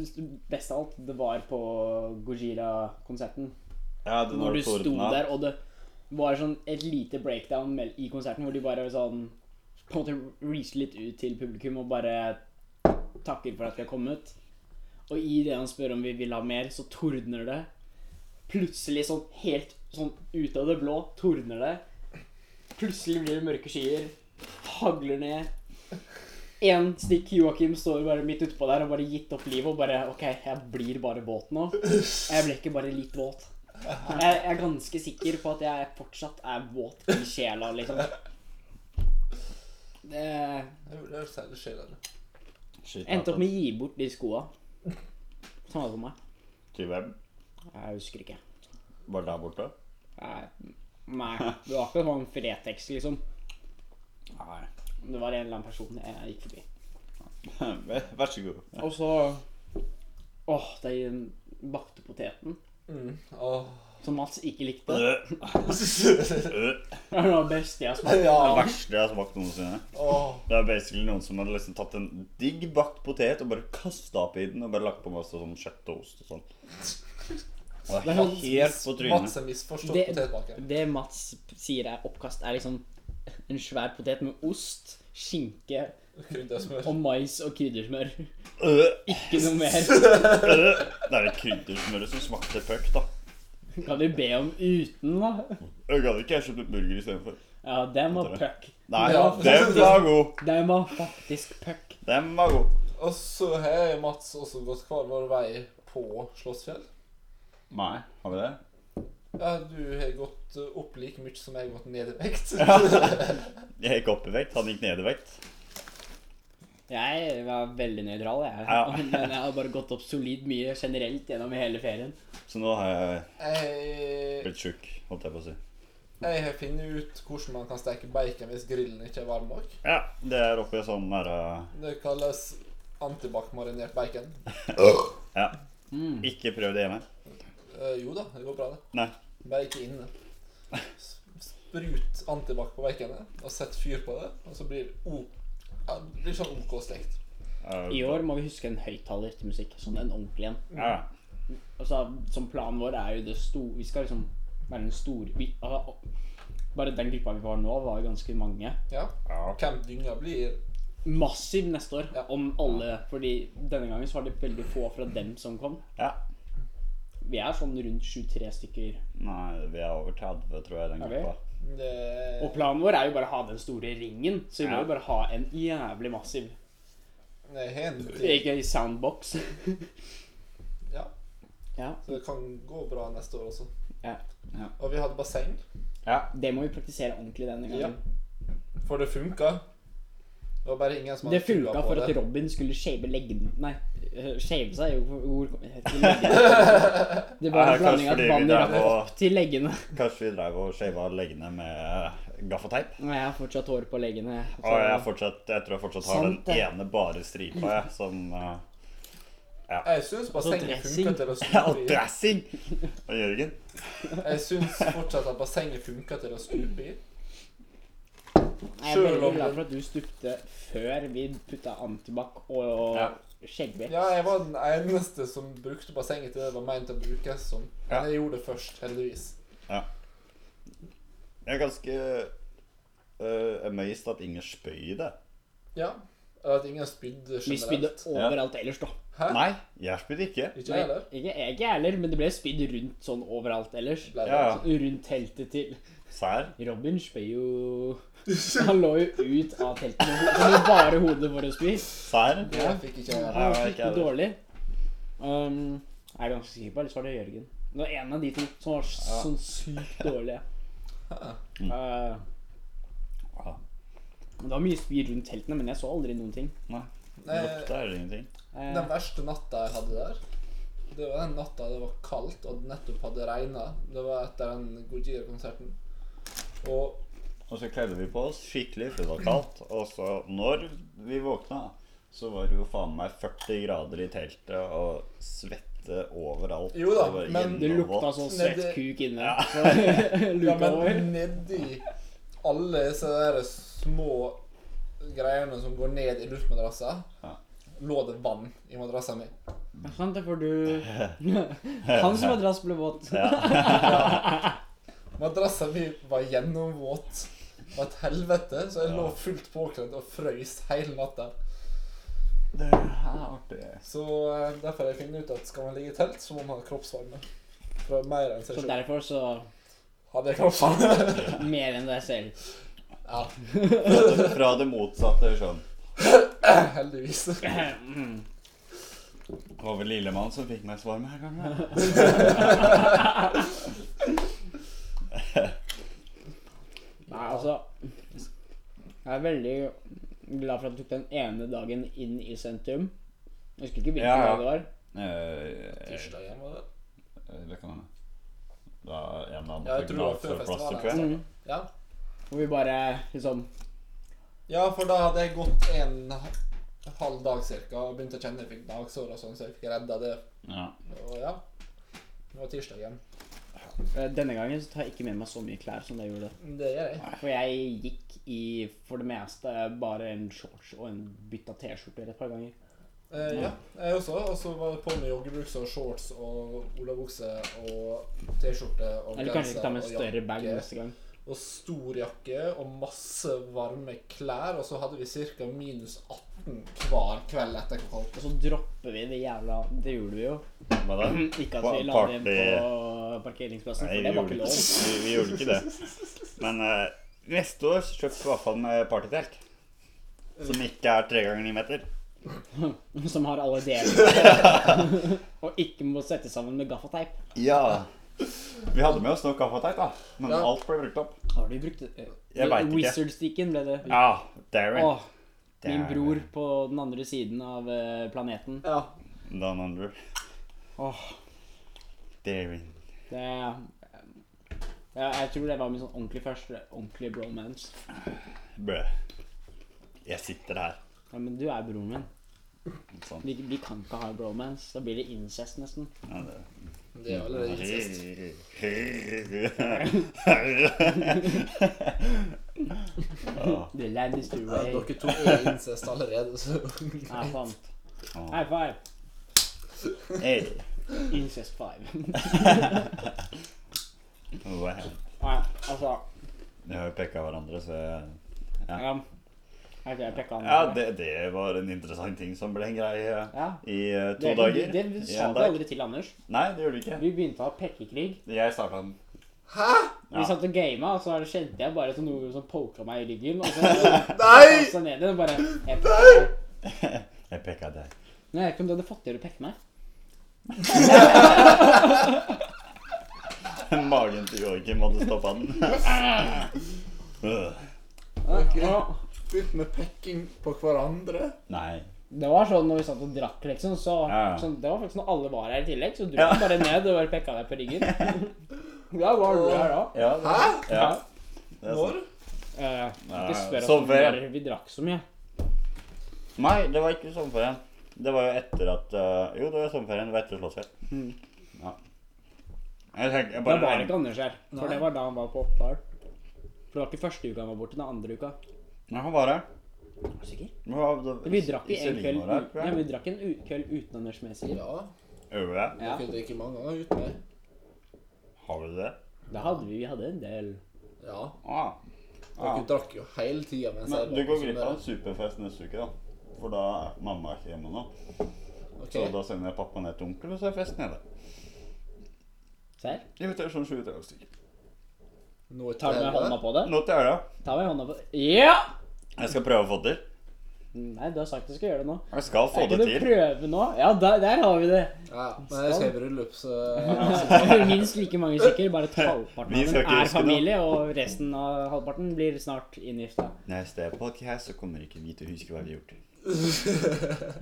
[SPEAKER 2] beste av alt, det var på Gojira-konserten.
[SPEAKER 1] Ja, det
[SPEAKER 2] Når du sto
[SPEAKER 1] tordna.
[SPEAKER 2] der, og det var sånn et lite breakdown mell- i konserten, hvor de bare sånn på en måte reacher litt ut til publikum og bare takker for at vi har kommet. Og i det han spør om vi vil ha mer, så tordner det. Plutselig, sånn helt sånn ut av det blå, tordner det. Plutselig blir det mørke skyer. Hagler ned. Én stikk Joakim står bare midt utpå der og bare gitt opp livet og bare OK, jeg blir bare våt nå. Jeg ble ikke bare litt våt. Jeg, jeg er ganske sikker på at jeg fortsatt er våt i sjela, liksom. Det
[SPEAKER 3] Jeg vurderer særlig skjellene.
[SPEAKER 1] Shit,
[SPEAKER 2] endte opp
[SPEAKER 1] altså.
[SPEAKER 2] med å gi bort de skoa. Samme for meg.
[SPEAKER 1] Til hvem?
[SPEAKER 2] Jeg husker ikke.
[SPEAKER 1] Var det der borte?
[SPEAKER 2] Jeg, nei, det var ikke sånn Fretex, liksom.
[SPEAKER 1] Nei.
[SPEAKER 2] Det var en eller annen person jeg gikk forbi.
[SPEAKER 1] Vær vær så god.
[SPEAKER 2] Og så Åh, den bakte poteten.
[SPEAKER 3] Mm. Åh.
[SPEAKER 2] Som Mats ikke likte.
[SPEAKER 1] Øh,
[SPEAKER 3] Åh.
[SPEAKER 1] øh.
[SPEAKER 2] Det var det beste jeg smakte.
[SPEAKER 1] Det
[SPEAKER 3] Ja.
[SPEAKER 1] verste jeg har smakt noensinne. Det er basically noen som hadde liksom tatt en digg bakt potet og bare kasta oppi den og bare lagt på masse sånn kjøtt og ost og sånn. Og
[SPEAKER 2] Det er sånn-
[SPEAKER 1] helt på
[SPEAKER 3] Mats
[SPEAKER 1] trynet.
[SPEAKER 3] har misforstått
[SPEAKER 2] Det-
[SPEAKER 3] potetbaker.
[SPEAKER 2] Det Mats p- sier er oppkast, er liksom en svær potet med ost, skinke
[SPEAKER 3] Kryddersmør.
[SPEAKER 2] og mais og kryddersmør.
[SPEAKER 1] Øh,
[SPEAKER 2] Ikke noe mer.
[SPEAKER 1] øh. Det er det kryddersmøret som smakte puck, da.
[SPEAKER 2] Kan du be om uten, da?
[SPEAKER 1] Jeg Gadd ikke jeg kjøpte burger istedenfor.
[SPEAKER 2] Ja, den var puck.
[SPEAKER 1] Nei,
[SPEAKER 3] Ja.
[SPEAKER 1] den var god.
[SPEAKER 2] Den var faktisk puck.
[SPEAKER 1] Den var god.
[SPEAKER 3] Og så har Mats også gått hver vår vei på Slåssfjell.
[SPEAKER 1] Nei, har vi det?
[SPEAKER 3] Ja, du har gått opp like mye som jeg har gått ned i vekt.
[SPEAKER 1] Jeg gikk opp i vekt, han gikk ned i vekt.
[SPEAKER 2] Jeg var veldig nøytral, jeg.
[SPEAKER 1] Ja.
[SPEAKER 2] Men jeg har bare gått opp solid mye generelt gjennom hele ferien.
[SPEAKER 1] Så nå har jeg
[SPEAKER 3] Jeg,
[SPEAKER 1] blitt tjukk, holdt jeg på å si.
[SPEAKER 3] jeg har funnet ut hvordan man kan steke bacon hvis grillen ikke er varm nok.
[SPEAKER 1] Ja, det er oppi sånn der øh,
[SPEAKER 3] Det kalles antibac-marinert bacon.
[SPEAKER 1] Ja.
[SPEAKER 2] Mm.
[SPEAKER 1] Ikke prøv det hjemme.
[SPEAKER 3] Eh, jo da, det går bra, det.
[SPEAKER 1] Nei.
[SPEAKER 3] Bare ikke inne. S- Sprut antibac på baconet og sett fyr på det, og så blir det o- ja, det blir sånn OK stekt.
[SPEAKER 1] Øh,
[SPEAKER 2] I år må vi huske en høyttaler til musikk. Sånn en ordentlig en.
[SPEAKER 1] Ja.
[SPEAKER 2] Altså, som planen vår er jo det store Vi skal liksom være den store vi, altså, Bare den gruppa vi var nå, var jo ganske mange.
[SPEAKER 3] Ja.
[SPEAKER 1] ja.
[SPEAKER 3] Camp Dynga blir
[SPEAKER 2] Massiv neste år,
[SPEAKER 3] Ja.
[SPEAKER 2] om alle. Fordi denne gangen så var det veldig få fra dem som kom.
[SPEAKER 1] ja.
[SPEAKER 2] Vi er sånn rundt 23 stykker.
[SPEAKER 1] Nei, vi er over 30, tror jeg, den
[SPEAKER 2] Er vi?
[SPEAKER 1] gruppa.
[SPEAKER 3] det,
[SPEAKER 2] Og planen vår er jo bare å ha den store ringen, så vi må
[SPEAKER 1] Ja.
[SPEAKER 2] jo bare ha en jævlig massiv
[SPEAKER 3] det er en ting.
[SPEAKER 2] Ikke soundbox.
[SPEAKER 3] Ja,
[SPEAKER 2] ja.
[SPEAKER 3] så det kan gå bra neste år også.
[SPEAKER 2] ja.
[SPEAKER 3] Og vi hadde basseng,
[SPEAKER 1] Ja.
[SPEAKER 2] Det må vi praktisere ordentlig denne gangen.
[SPEAKER 3] for det funka. Det var bare ingen som
[SPEAKER 2] Det
[SPEAKER 3] hadde trua
[SPEAKER 2] funka
[SPEAKER 3] på
[SPEAKER 2] for at
[SPEAKER 3] det.
[SPEAKER 2] Robin skulle shave leggene Nei, øh, shave seg jo hvor kom- heter det leggene? Det var en
[SPEAKER 1] Ja,
[SPEAKER 2] blanding av
[SPEAKER 1] kanskje
[SPEAKER 2] at
[SPEAKER 1] fordi vi
[SPEAKER 2] vannet rakk
[SPEAKER 1] drev og-
[SPEAKER 2] opp til leggene.
[SPEAKER 1] Kanskje vi drev og shava leggene med eh, gaffateip.
[SPEAKER 2] Og jeg har fortsatt hår på leggene. så-
[SPEAKER 1] Og jeg, fortsatt, jeg tror jeg fortsatt har
[SPEAKER 2] Sant,
[SPEAKER 1] den
[SPEAKER 2] det.
[SPEAKER 1] ene bare stripa, jeg, som eh,
[SPEAKER 3] Jeg syns bassenget
[SPEAKER 2] dressing.
[SPEAKER 3] funka til å
[SPEAKER 1] Ja,
[SPEAKER 3] stupe
[SPEAKER 1] og
[SPEAKER 3] i.
[SPEAKER 1] dressing! Og Jørgen.
[SPEAKER 3] Jeg syns fortsatt at bassenget funka til å stupe i.
[SPEAKER 2] Jeg er veldig
[SPEAKER 3] Sjølom.
[SPEAKER 2] glad for at du stupte før vi putta antibac og, og
[SPEAKER 1] Ja.
[SPEAKER 2] skjeggbekk.
[SPEAKER 3] Ja, jeg var den eneste som brukte bassenget til det det var meint å brukes som.
[SPEAKER 1] Ja.
[SPEAKER 3] Men jeg gjorde det først, heldigvis.
[SPEAKER 1] Jeg er ganske eh, amazed at ingen spøy i det.
[SPEAKER 3] Ja. Eller at ingen spydde
[SPEAKER 2] Vi spydde
[SPEAKER 3] generelt.
[SPEAKER 2] overalt ellers, da.
[SPEAKER 3] Hæ?
[SPEAKER 1] Nei, jeg spydde ikke.
[SPEAKER 3] Ikke
[SPEAKER 2] Nei,
[SPEAKER 3] jeg heller?
[SPEAKER 2] ikke jeg ikke heller, men det ble spydd rundt sånn overalt ellers.
[SPEAKER 3] Ble det?
[SPEAKER 1] Ja, ja.
[SPEAKER 2] Sånn Rundt teltet til
[SPEAKER 1] Sær.
[SPEAKER 2] Robin spøy jo Han lå jo ut av teltet. med ho- med bare hodet vårt å spy.
[SPEAKER 1] Sær.
[SPEAKER 3] Det fikk ikke jeg heller.
[SPEAKER 1] Ja,
[SPEAKER 2] Han
[SPEAKER 1] jeg
[SPEAKER 2] var
[SPEAKER 1] vet ikke
[SPEAKER 2] skikkelig dårlig. Um, jeg er ganske sikker på, ellers var det Jørgen. Det var en av de to som var s- sånn sykt dårlige.
[SPEAKER 3] Hæ?
[SPEAKER 2] Uh,
[SPEAKER 1] Ja.
[SPEAKER 2] det var mye spy rundt teltene, men jeg så aldri noen ting.
[SPEAKER 1] Nei, det
[SPEAKER 3] Nei,
[SPEAKER 1] lukta heller ingenting.
[SPEAKER 2] Uh,
[SPEAKER 3] Den verste natta jeg hadde der, det var den natta det var kaldt og det nettopp hadde regna. Det var etter den Gojira-konserten. Og
[SPEAKER 1] Og så kledde vi på oss skikkelig, for det var kaldt. Og så, når vi våkna, så var det jo faen meg 40 grader i teltet og svette overalt.
[SPEAKER 3] Jo da,
[SPEAKER 1] Det var
[SPEAKER 3] men-
[SPEAKER 2] det lukta
[SPEAKER 1] gjennomvått.
[SPEAKER 2] sånn svett
[SPEAKER 3] Nedi-
[SPEAKER 2] kuk inne.
[SPEAKER 1] Ja.
[SPEAKER 2] Så
[SPEAKER 3] ja,
[SPEAKER 2] luka over.
[SPEAKER 3] men nedi alle disse der små greiene som går ned i luftmadrassa,
[SPEAKER 1] Ja.
[SPEAKER 3] lå det vann i madrassa mi.
[SPEAKER 2] Sant, det får du Hans madrass ble våt.
[SPEAKER 3] Madrassa mi var gjennomvåt. Det var et helvete, så jeg lå fullt påkledd og frøys hele natta.
[SPEAKER 1] Det er artig.
[SPEAKER 3] Så eh, derfor har jeg funnet ut at skal man ligge i telt, så må man ha kroppsvarme. Fra mer enn seg
[SPEAKER 2] Så
[SPEAKER 3] selv.
[SPEAKER 2] derfor så
[SPEAKER 3] Hadde jeg kroppsvarme?
[SPEAKER 2] Mer enn deg selv.
[SPEAKER 3] ja,
[SPEAKER 1] Fra det motsatte skjønn.
[SPEAKER 3] heldigvis.
[SPEAKER 1] Mm. Det var vel Lillemann som fikk mest varme her gangen.
[SPEAKER 2] Nei, altså Jeg er veldig glad for at du tok den ene dagen inn i sentrum. Jeg husker ikke hvilken
[SPEAKER 1] Ja, ja.
[SPEAKER 2] dag det var.
[SPEAKER 1] Eh,
[SPEAKER 3] Tirsdagen var det.
[SPEAKER 1] det kan hende. Da en eller annen
[SPEAKER 3] Ja, jeg tror det var
[SPEAKER 1] fotograf
[SPEAKER 3] før
[SPEAKER 1] får plass
[SPEAKER 3] festivalen,
[SPEAKER 1] til kveld.
[SPEAKER 2] Mm.
[SPEAKER 3] Ja.
[SPEAKER 2] Hvor vi bare liksom
[SPEAKER 3] ja, for da hadde jeg gått en halv dag cirka, og begynt å kjenne jeg fikk dagsår og sånn, så jeg fikk redda det.
[SPEAKER 1] Ja.
[SPEAKER 3] Og ja, det var tirsdagen.
[SPEAKER 2] eh, Denne gangen så tar jeg ikke med meg så mye klær som jeg gjorde.
[SPEAKER 3] Det gjør jeg.
[SPEAKER 2] For jeg gikk i for det meste bare en shorts og en bytta T-skjorte et par ganger.
[SPEAKER 3] Eh, ja, jeg også. Og så var det på med joggebukse og shorts og olabukse og T-skjorte og
[SPEAKER 2] Eller kanskje vi skal ta med en
[SPEAKER 3] og
[SPEAKER 2] større bag
[SPEAKER 3] jakke.
[SPEAKER 2] neste gang.
[SPEAKER 3] Og stor jakke og masse varme klær. Og så hadde vi ca. minus 18 hver kveld etter klokka åtte.
[SPEAKER 2] Og så dropper vi det jævla Det gjorde vi jo.
[SPEAKER 1] Hva da?
[SPEAKER 2] Ikke at vi la det igjen på parkeringsplassen,
[SPEAKER 1] Nei,
[SPEAKER 2] for
[SPEAKER 1] vi
[SPEAKER 2] det var
[SPEAKER 1] gjorde,
[SPEAKER 2] ikke
[SPEAKER 1] ikke,
[SPEAKER 2] lov.
[SPEAKER 1] vi, vi gjorde ikke det. Men eh, neste år så kjøper vi i hvert fall med partytelt. Som ikke er tre ganger ni meter.
[SPEAKER 2] Som har alle deler. og ikke må sette sammen med gaffateip.
[SPEAKER 1] Ja. Vi hadde med oss nok gaffateip, da. Men
[SPEAKER 3] Ja.
[SPEAKER 1] alt ble brukt opp.
[SPEAKER 2] Har du brukt det?
[SPEAKER 1] Jeg vet ikke.
[SPEAKER 2] Eh, Wizard-stikken ble det.
[SPEAKER 1] Ja, Darren.
[SPEAKER 2] Åh, min bror på den andre siden av eh, planeten.
[SPEAKER 3] Ja.
[SPEAKER 1] Down under.
[SPEAKER 2] Åh,
[SPEAKER 1] Darren.
[SPEAKER 2] det ja, Jeg tror det var min sånn ordentlig første ordentlig bromance.
[SPEAKER 1] Brø. Jeg sitter her.
[SPEAKER 2] Ja, men du er broren min.
[SPEAKER 1] Sånn.
[SPEAKER 2] Vi, vi kan ikke ha bromance. Da blir det incest, nesten.
[SPEAKER 1] Ja, det.
[SPEAKER 3] Det er allerede incest.
[SPEAKER 1] Åh,
[SPEAKER 2] The land is the
[SPEAKER 3] Ja,
[SPEAKER 2] way.
[SPEAKER 3] dere to er incest allerede, så
[SPEAKER 2] Ja, sant.
[SPEAKER 1] åh.
[SPEAKER 2] High five.
[SPEAKER 1] Hey.
[SPEAKER 2] Incest five.
[SPEAKER 1] Wow.
[SPEAKER 2] Nei, altså
[SPEAKER 1] Vi har jo pekka hverandre, så jeg
[SPEAKER 2] Ja. Jeg tror jeg pekka han.
[SPEAKER 1] Ja, det, det var en interessant ting som ble en greie eh,
[SPEAKER 2] Ja.
[SPEAKER 1] i eh, to
[SPEAKER 2] Det,
[SPEAKER 1] dager.
[SPEAKER 2] det, det
[SPEAKER 1] I
[SPEAKER 2] sa
[SPEAKER 1] en
[SPEAKER 2] vi
[SPEAKER 1] dag.
[SPEAKER 2] aldri til Anders.
[SPEAKER 1] Nei, det gjorde du ikke.
[SPEAKER 2] Vi begynte å ha pekkekrig.
[SPEAKER 1] Jeg starta den.
[SPEAKER 3] Hæ?
[SPEAKER 2] Vi
[SPEAKER 1] Ja.
[SPEAKER 2] satt og gama, og så kjente jeg bare som noe som poka meg i ryggen. Og så
[SPEAKER 3] Nei!
[SPEAKER 2] så ned igjen og bare jeg pekka.
[SPEAKER 1] Jeg pekka deg.
[SPEAKER 2] Nei, Jeg vet ikke om du hadde fått til å pekke meg.
[SPEAKER 1] Magen til Joakim hadde stoppa den. Øh.
[SPEAKER 3] Ok. Begynt med pekking på hverandre.
[SPEAKER 1] Nei.
[SPEAKER 2] Det var sånn når vi satt og drakk, liksom, så,
[SPEAKER 1] Ja.
[SPEAKER 2] sånn, Det var faktisk når alle var her i tillegg, så du
[SPEAKER 1] Ja.
[SPEAKER 2] kom bare ned og bare pekka deg på ryggen. Ja, hva var du her da?
[SPEAKER 1] Ja, det,
[SPEAKER 3] Hæ?
[SPEAKER 1] ja, det er
[SPEAKER 3] Når?
[SPEAKER 1] sant.
[SPEAKER 2] Eh, ikke
[SPEAKER 1] Nei,
[SPEAKER 2] spør oss
[SPEAKER 1] sånn
[SPEAKER 2] om
[SPEAKER 1] før, ja.
[SPEAKER 2] når vi drakk så mye.
[SPEAKER 1] Nei, det var ikke sommerferien. Det var jo etter at eh, Jo, det var sommerferien. Det var etter Slottsfjell. Ja. Jeg tenker,
[SPEAKER 2] Da
[SPEAKER 1] jeg bare
[SPEAKER 2] var det ikke Anders her, for
[SPEAKER 3] Nei.
[SPEAKER 2] det var da han var på Oppdal. For det var ikke første uka han var borte, det var andre uka.
[SPEAKER 1] Nei, han var her.
[SPEAKER 2] Sikker?
[SPEAKER 1] Men hva- det-
[SPEAKER 2] Vi drakk i en
[SPEAKER 1] Iselin
[SPEAKER 2] kveld,
[SPEAKER 1] var her,
[SPEAKER 2] u-
[SPEAKER 1] tror
[SPEAKER 2] ja,
[SPEAKER 1] jeg.
[SPEAKER 2] vi drakk en u- kveld uten Anders Meser.
[SPEAKER 3] Ja.
[SPEAKER 1] Gjorde vi det?
[SPEAKER 2] Ja,
[SPEAKER 3] Dere drikker mange ganger uten meg.
[SPEAKER 1] Har vi det?
[SPEAKER 2] da hadde vi, vi hadde en del.
[SPEAKER 3] Ja.
[SPEAKER 1] Ah.
[SPEAKER 3] Dere drakk jo hele tida mens jeg
[SPEAKER 1] Men du
[SPEAKER 3] var
[SPEAKER 1] går
[SPEAKER 3] på
[SPEAKER 1] glipp av en
[SPEAKER 3] sommer.
[SPEAKER 1] superfest neste uke, da. For da er mamma ikke hjemme nå.
[SPEAKER 3] Ok.
[SPEAKER 1] Så da sender jeg pappa ned til onkel, og så er festen nede.
[SPEAKER 2] Serr?
[SPEAKER 1] Invitasjon 23 stykker.
[SPEAKER 3] Nå er
[SPEAKER 2] Tar du med
[SPEAKER 3] Terje-
[SPEAKER 2] hånda på det?
[SPEAKER 1] Nå til helga.
[SPEAKER 2] Tar vi hånda på Ja!
[SPEAKER 1] Jeg skal prøve å få det til.
[SPEAKER 2] Nei, du har sagt du skal gjøre det nå.
[SPEAKER 1] Jeg skal få
[SPEAKER 2] Er
[SPEAKER 1] det
[SPEAKER 2] ikke noe
[SPEAKER 1] til.
[SPEAKER 2] prøve nå? Ja, der, der har vi det.
[SPEAKER 3] Ja, men jeg skal i bryllup, så
[SPEAKER 2] Minst like mange stykker, bare at halvparten
[SPEAKER 1] Vi
[SPEAKER 2] av dem
[SPEAKER 1] skal ikke
[SPEAKER 2] er
[SPEAKER 1] huske noe.
[SPEAKER 2] familie, og resten av halvparten blir snart inngifta.
[SPEAKER 1] Neste podcast så kommer ikke vi til å huske hva vi har gjort.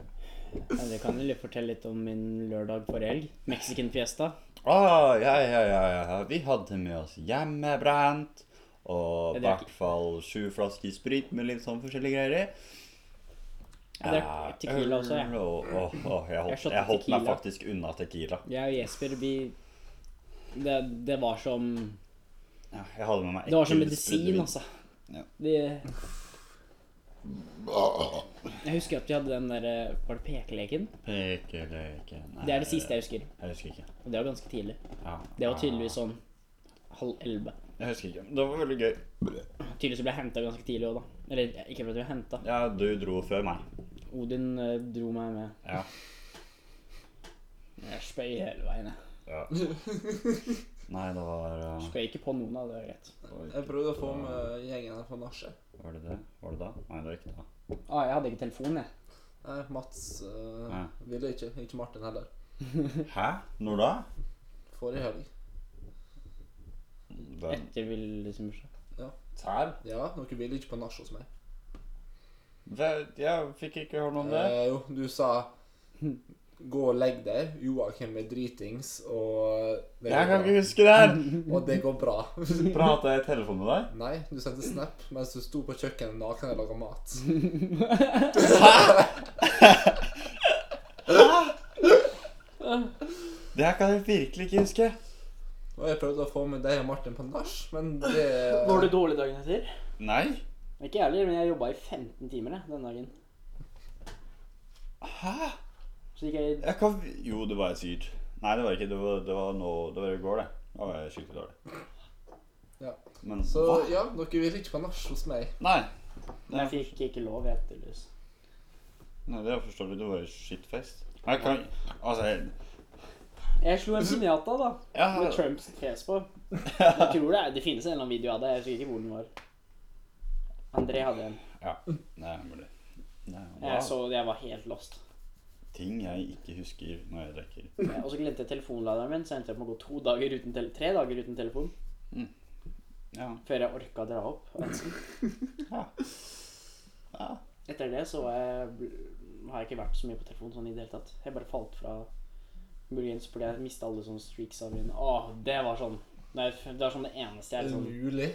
[SPEAKER 2] Ja, det kan jeg fortelle litt om min lørdag forrige helg. Mexican fiesta.
[SPEAKER 1] Å, ja, ja, ja, ja. Vi hadde med oss hjemmebrent. Og i
[SPEAKER 2] Jeg drakk-
[SPEAKER 1] hvert fall sju flasker sprit med litt sånn forskjellige greier. i.
[SPEAKER 2] Jeg drakk
[SPEAKER 1] Ja,
[SPEAKER 2] tequila også, jeg.
[SPEAKER 1] øl og- åh, åh, jeg.
[SPEAKER 2] Jeg
[SPEAKER 1] Holdt,
[SPEAKER 2] shot
[SPEAKER 1] jeg holdt meg
[SPEAKER 2] tequila.
[SPEAKER 1] faktisk unna tequila.
[SPEAKER 2] Jeg og Jesper, vi det, det var som Det
[SPEAKER 1] Ja, jeg hadde med meg
[SPEAKER 2] var som
[SPEAKER 1] ekkel
[SPEAKER 2] medisin,
[SPEAKER 1] sprudlevin.
[SPEAKER 2] altså.
[SPEAKER 1] Ja.
[SPEAKER 2] Vi Jeg husker at vi hadde den der eh, Var det pekeleken?
[SPEAKER 1] Pekeleke Nei,
[SPEAKER 2] Det er det siste jeg husker.
[SPEAKER 1] Jeg husker ikke.
[SPEAKER 2] Og det var ganske tidlig.
[SPEAKER 1] Ja.
[SPEAKER 2] Det var tydeligvis sånn halv elleve.
[SPEAKER 1] Jeg husker ikke. men Det var veldig gøy.
[SPEAKER 2] Tydeligvis ble jeg henta ganske tidlig òg, da. Eller ikke for at vi var henta.
[SPEAKER 1] Ja, du dro før meg.
[SPEAKER 2] Odin eh, dro meg med.
[SPEAKER 1] Ja.
[SPEAKER 2] Jeg spøy hele veien. jeg.
[SPEAKER 1] ja. Nei, det var uh,
[SPEAKER 2] Spøy ikke på noen av det, er greit.
[SPEAKER 3] Jeg prøvde å få med gjengen her på nachspiel.
[SPEAKER 1] Var det det? Var det da? Nei, det var ikke da.
[SPEAKER 2] Ah, jeg hadde ikke telefon, jeg.
[SPEAKER 3] Nei, Mats øh,
[SPEAKER 1] Ja.
[SPEAKER 3] ville ikke. Ikke Martin heller.
[SPEAKER 1] Hæ? Når da?
[SPEAKER 3] Forrige helg.
[SPEAKER 1] Den
[SPEAKER 2] Etter liksom villbursdag.
[SPEAKER 1] tær?
[SPEAKER 3] Ja, dere ville ikke på nach hos meg.
[SPEAKER 1] Det, jeg fikk ikke høre noe om det.
[SPEAKER 3] Eh, jo, du sa Gå og legg deg. Joakim er dritings, og det
[SPEAKER 1] Jeg
[SPEAKER 3] går
[SPEAKER 1] kan ikke
[SPEAKER 3] bra.
[SPEAKER 1] huske det her!
[SPEAKER 3] Og det går bra.
[SPEAKER 1] Prata jeg i telefonen med deg?
[SPEAKER 3] Nei, du sendte snap mens du sto på kjøkkenet naken og laga mat.
[SPEAKER 1] Det her kan jeg virkelig ikke huske.
[SPEAKER 3] Og jeg prøvde å få med deg og Martin på nach, men det
[SPEAKER 2] Var det dårlig dagen etter?
[SPEAKER 1] Nei?
[SPEAKER 2] Ikke jeg heller, men jeg jobba i 15 timer jeg, den dagen.
[SPEAKER 1] Hæ?
[SPEAKER 2] Så gikk jeg
[SPEAKER 1] Jeg kan... Jo, det var jeg sikkert. Nei, det var ikke. Det var, det var, nå, det var i går, det. Da var jeg skikkelig dårlig.
[SPEAKER 3] Ja.
[SPEAKER 1] Men
[SPEAKER 3] Så
[SPEAKER 1] hva?
[SPEAKER 3] ja, dere vil ikke på nach hos meg.
[SPEAKER 1] Nei.
[SPEAKER 2] Men jeg fikk ikke lov, jeg etterlys.
[SPEAKER 1] Nei, det forstår du. Det var jo shitfest. Jeg kan Altså, jeg...
[SPEAKER 2] Jeg slo en pinjata, da. Med
[SPEAKER 1] Ja,
[SPEAKER 2] Trumps fjes på. Jeg tror det, er, det finnes en eller annen video av det. Jeg husker ikke hvor den var. André hadde en.
[SPEAKER 1] ja. Nei, mulig. Nei, wow.
[SPEAKER 2] Jeg så det, jeg var helt lost.
[SPEAKER 1] Ting jeg ikke husker når jeg drikker.
[SPEAKER 2] Og så glemte jeg telefonladeren min, så jeg endte jeg opp med å gå to dager uten tele tre dager uten telefon
[SPEAKER 1] Ja.
[SPEAKER 2] før jeg orka å dra opp. av ensel.
[SPEAKER 1] ja.
[SPEAKER 2] Etter det så var jeg, har jeg ikke vært så mye på telefon sånn i det hele tatt. Jeg bare falt fra muligens fordi jeg mista alle sånne streaks av mine Åh, det var sånn Det er- det var sånn det eneste jeg
[SPEAKER 3] Er det
[SPEAKER 2] liksom
[SPEAKER 3] mulig?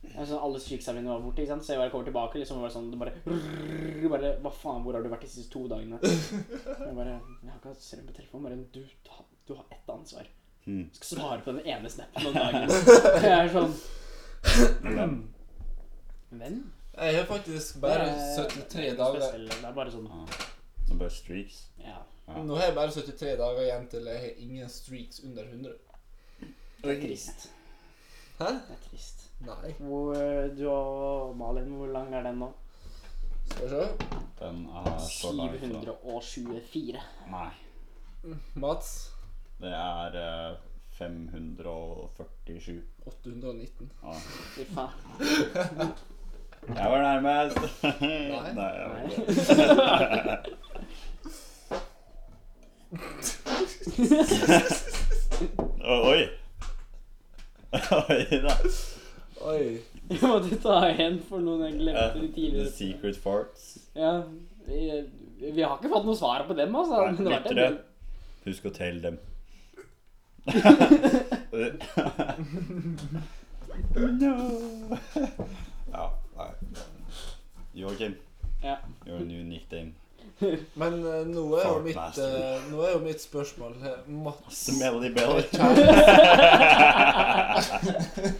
[SPEAKER 2] Jeg sånn, Alle streaksa mine var borte, ikke sant? så jeg bare kommer tilbake liksom, og bare sånn, det bare, bare Hva faen, hvor har du vært de siste to dagene? Jeg bare Jeg har ikke hatt strøm på telefonen. Bare du, ta- du har ett ansvar.
[SPEAKER 1] Hmm.
[SPEAKER 2] Du skal svare på den ene snappen om dagen. Jeg er sånn hmm.
[SPEAKER 1] Men,
[SPEAKER 2] Hvem?
[SPEAKER 3] Jeg har faktisk bare
[SPEAKER 2] Det er-
[SPEAKER 3] 73
[SPEAKER 2] det er
[SPEAKER 3] dager
[SPEAKER 2] spesielt, Det er bare sånn
[SPEAKER 1] som bare streaks.
[SPEAKER 2] Ja.
[SPEAKER 1] Ja.
[SPEAKER 3] Nå har jeg bare 73 dager igjen til jeg har ingen streaks under 100.
[SPEAKER 2] Det er trist.
[SPEAKER 3] Hæ?
[SPEAKER 2] Det er trist.
[SPEAKER 3] Nei.
[SPEAKER 2] Hvor, eh, du og Malin, hvor lang er den nå?
[SPEAKER 3] Skal vi se.
[SPEAKER 1] Den er så lang. så-
[SPEAKER 2] 724.
[SPEAKER 1] Nei.
[SPEAKER 3] Mats.
[SPEAKER 1] Det er eh, 547.
[SPEAKER 3] 819.
[SPEAKER 1] Ja.
[SPEAKER 2] Fy faen.
[SPEAKER 1] Ah. Jeg var nærmest.
[SPEAKER 3] Nei.
[SPEAKER 1] Nei jeg var ikke. det. Å, Oi. Oi da.
[SPEAKER 3] Oi.
[SPEAKER 2] Jeg måtte ta igjen for noen jeg
[SPEAKER 1] Eh,
[SPEAKER 2] glemte de
[SPEAKER 1] the
[SPEAKER 2] tidligere.
[SPEAKER 1] Secret Farts.
[SPEAKER 2] Ja, vi, vi har ikke fått noe svar på dem, altså.
[SPEAKER 1] Nei,
[SPEAKER 2] men det har vært en
[SPEAKER 1] lyttere.
[SPEAKER 2] del.
[SPEAKER 1] Husk å telle dem. no. ja, nei. Joakim,
[SPEAKER 2] Ja.
[SPEAKER 1] you're a new nickname.
[SPEAKER 3] Men eh, nå, er jo
[SPEAKER 1] Fart
[SPEAKER 3] mitt,
[SPEAKER 1] master.
[SPEAKER 3] eh, nå er jo mitt spørsmål her Mats
[SPEAKER 1] Smelly belly.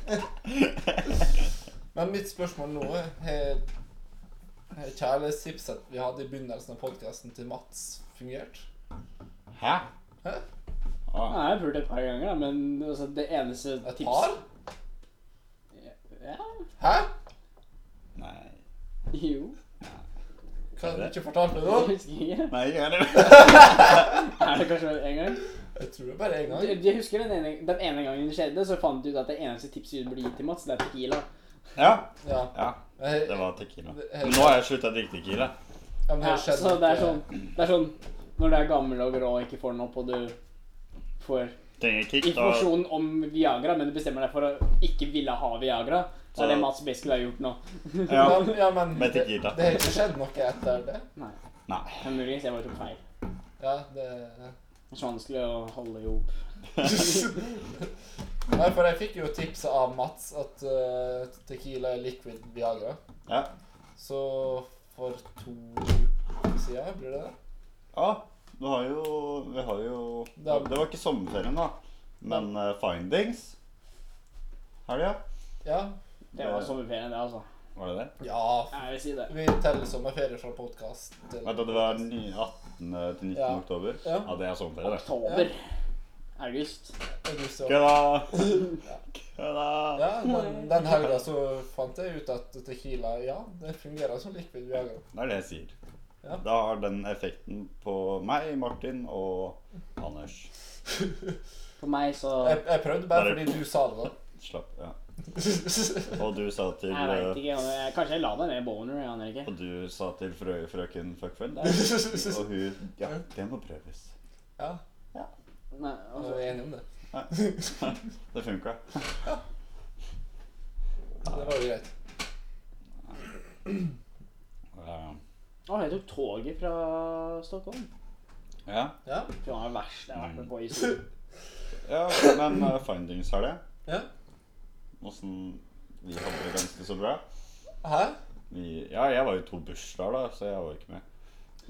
[SPEAKER 3] Men mitt spørsmål nå er Har har kjærlighetstipset vi hadde i begynnelsen av podkasten til Mats, fungert?
[SPEAKER 1] Hæ?
[SPEAKER 3] Hæ?
[SPEAKER 2] Ja,
[SPEAKER 1] Ah,
[SPEAKER 2] Jeg har pult et par ganger, da, men altså, det eneste
[SPEAKER 3] Et par?
[SPEAKER 2] Ja,
[SPEAKER 3] Hæ?
[SPEAKER 1] nei.
[SPEAKER 2] jo.
[SPEAKER 3] Hva har du ikke fortalt meg nå?
[SPEAKER 2] Jeg husker ikke.
[SPEAKER 1] Nei, jeg er
[SPEAKER 2] Er det kanskje en gang?
[SPEAKER 3] Jeg tror det er bare én
[SPEAKER 2] Du-
[SPEAKER 3] gang.
[SPEAKER 2] Jeg husker den ene, den ene gangen det skjedde, så fant du ut at det eneste tipset du burde gi til Mats, det er tequila.
[SPEAKER 1] Ja,
[SPEAKER 3] Ja.
[SPEAKER 1] ja,
[SPEAKER 3] Jeg,
[SPEAKER 1] det var tequila.
[SPEAKER 3] Det-
[SPEAKER 1] Men nå har jeg slutta å drikke tequila.
[SPEAKER 3] ja, men det
[SPEAKER 2] Ja,
[SPEAKER 3] har skjedd
[SPEAKER 2] så det er
[SPEAKER 3] at, eh,
[SPEAKER 2] sånn, det er sånn Når du er gammel og grå og ikke får den opp, og du får
[SPEAKER 1] Trenger kick, da.
[SPEAKER 2] informasjon om Viagra, men du bestemmer deg for å ikke ville ha Viagra, så er det Mats basically har gjort nå.
[SPEAKER 1] Ja.
[SPEAKER 3] Men, ja, men
[SPEAKER 1] Med
[SPEAKER 3] det,
[SPEAKER 1] tequila.
[SPEAKER 3] det har ikke skjedd noe etter det.
[SPEAKER 2] Nei.
[SPEAKER 1] Nei.
[SPEAKER 2] Men muligens jeg bare tok feil.
[SPEAKER 3] Ja, det
[SPEAKER 2] Det er så vanskelig å holde i hop.
[SPEAKER 3] Nei, for jeg fikk jo tipset av Mats at eh, tequila er liquid Viagra.
[SPEAKER 1] Ja.
[SPEAKER 3] Så for to uker siden, blir det det?
[SPEAKER 1] ja. Du har jo Vi har jo Det
[SPEAKER 3] Da-
[SPEAKER 1] var ikke sommerferien, da. Men eh, findings Helga?
[SPEAKER 3] Ja.
[SPEAKER 2] Det var sommerferien, det, altså.
[SPEAKER 1] Var det det?
[SPEAKER 3] ja. f-
[SPEAKER 2] Jeg vil si det.
[SPEAKER 3] Vi teller sommerferie fra podkast til
[SPEAKER 1] Vent, da, det var den 18. til 19.
[SPEAKER 3] Ja.
[SPEAKER 1] oktober?
[SPEAKER 3] Ja.
[SPEAKER 1] Ja, det er sommerferie, det.
[SPEAKER 2] Oktober. August.
[SPEAKER 3] august. i år.
[SPEAKER 1] Kødda! Kødda!
[SPEAKER 3] Ja, men den helga så fant jeg ut at tequila, ja, det fungerer som liquid Viagra.
[SPEAKER 1] Det er det jeg sier.
[SPEAKER 3] Ja.
[SPEAKER 1] Da har den effekten på meg, Martin og Anders.
[SPEAKER 2] For meg så
[SPEAKER 3] Jeg, jeg prøvde bare
[SPEAKER 1] Bare-
[SPEAKER 3] fordi du sa det. da.
[SPEAKER 1] Slapp Ja. Og du sa til
[SPEAKER 2] Jeg veit
[SPEAKER 1] eh,
[SPEAKER 2] ikke. om jeg- Kanskje jeg la deg ned boner, jeg aner ikke.
[SPEAKER 1] Og du sa til frø, frøken Fuckfell der. Og hun Ja, det må prøves.
[SPEAKER 3] Ja,
[SPEAKER 2] Nei,
[SPEAKER 3] vi
[SPEAKER 2] altså,
[SPEAKER 3] er enige om det.
[SPEAKER 1] Det funka.
[SPEAKER 3] Det var jo greit.
[SPEAKER 1] Ja.
[SPEAKER 2] Å, jeg tok toget fra Stockholm.
[SPEAKER 1] ja.
[SPEAKER 3] Ja.
[SPEAKER 2] Det var det verste jeg har vært med på i historien.
[SPEAKER 1] ja men eh, findings har det.
[SPEAKER 3] ja.
[SPEAKER 1] Åssen Vi hadde det ganske så bra.
[SPEAKER 3] Hæ?
[SPEAKER 1] Vi, ja, jeg var jo to bursdager da, så jeg var ikke med.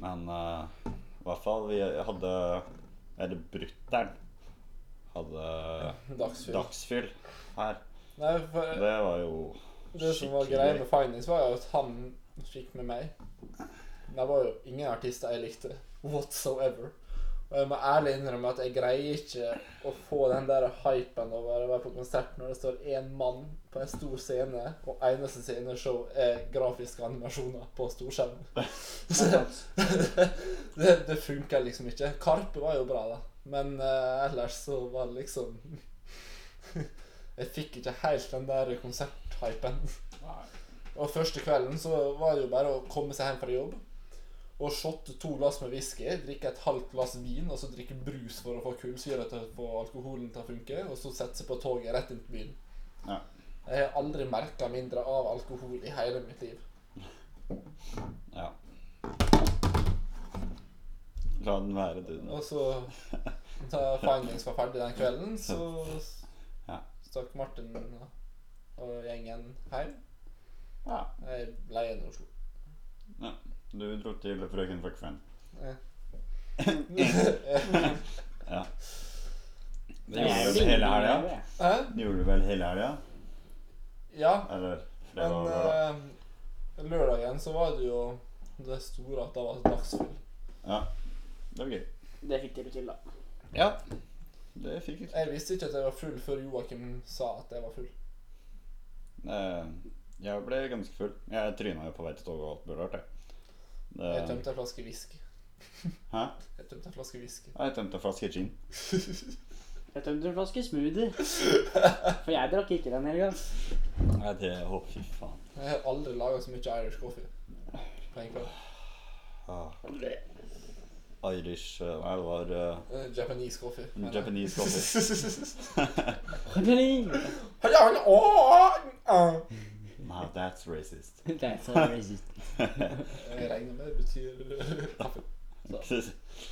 [SPEAKER 1] Men eh, i hvert fall, vi hadde Eller brutter'n hadde
[SPEAKER 3] Dagsfyll.
[SPEAKER 1] dagsfyll her.
[SPEAKER 3] Nei, for
[SPEAKER 1] Det var jo
[SPEAKER 3] det som var
[SPEAKER 1] skikkelig
[SPEAKER 3] greia
[SPEAKER 1] gøy.
[SPEAKER 3] med Findings, var jo at han fikk med meg. Men Det var jo ingen artister jeg likte. whatsoever. Og jeg må ærlig innrømme at jeg greier ikke å få den der hypen over å være på konsert når det står én mann på en stor scene, og eneste sceneshow er grafiske animasjoner på storskjerm. Så det, det funker liksom ikke. Karpe var jo bra, da. Men eh, ellers så var det liksom Jeg fikk ikke helt den der konserthypen. Og første kvelden så var det jo bare å komme seg hjem fra jobb og shotte to glass med whisky, drikke et halvt glass vin og så drikke brus for å få kullsyre til å få alkoholen til å funke, og så sette seg på toget rett inn til byen.
[SPEAKER 1] Ja.
[SPEAKER 3] Jeg har aldri merka mindre av alkohol i hele mitt liv.
[SPEAKER 1] ja. La den være, du. nå.
[SPEAKER 3] Og så da Findings var ferdig den kvelden, så
[SPEAKER 1] Ja.
[SPEAKER 3] stakk Martin og gjengen hjem.
[SPEAKER 1] Ja.
[SPEAKER 3] Jeg ble igjen i Oslo.
[SPEAKER 1] Du dro til Frøken Fuckfriend.
[SPEAKER 3] Ja.
[SPEAKER 1] Ja.
[SPEAKER 2] Det
[SPEAKER 1] Det
[SPEAKER 2] er jo
[SPEAKER 1] gjorde du vel hele helga?
[SPEAKER 2] det.
[SPEAKER 3] Hæ?
[SPEAKER 1] Det gjorde du vel hele helga?
[SPEAKER 3] Ja,
[SPEAKER 1] Eller
[SPEAKER 3] men
[SPEAKER 1] fredag og lørdag?
[SPEAKER 3] eh, lørdagen så var det jo det store at det var dagsfyll.
[SPEAKER 1] Ja. Det var gøy.
[SPEAKER 2] Det fikk dere til, da.
[SPEAKER 1] Ja. Det fikk jeg til.
[SPEAKER 3] Jeg visste ikke at jeg var full før Joakim sa at jeg var full.
[SPEAKER 1] Eh, Jeg ble ganske full. Jeg tryna jo på vei til toget og alt mulig rart, jeg. Det-
[SPEAKER 3] Jeg tømte en flaske whisky.
[SPEAKER 1] Hæ?
[SPEAKER 3] Jeg tømte en flaske whisky.
[SPEAKER 1] Ja, Jeg tømte en flaske gin.
[SPEAKER 2] Jeg tømte en flaske smoothie. For jeg drakk ikke den helga.
[SPEAKER 1] Nei, det Å, fy faen.
[SPEAKER 3] Jeg har aldri laga så mye Irish coffee på en kveld.
[SPEAKER 1] Ah. Irish eh, Nei, det var eh,
[SPEAKER 3] Eh, Japanese coffee. mener jeg.
[SPEAKER 1] Mm, Japanese coffee.
[SPEAKER 2] That's
[SPEAKER 3] Hallo, hallo, åh, ah.
[SPEAKER 1] Now that's racist.
[SPEAKER 2] so racist.
[SPEAKER 3] Jeg regner med det betyr kaffe.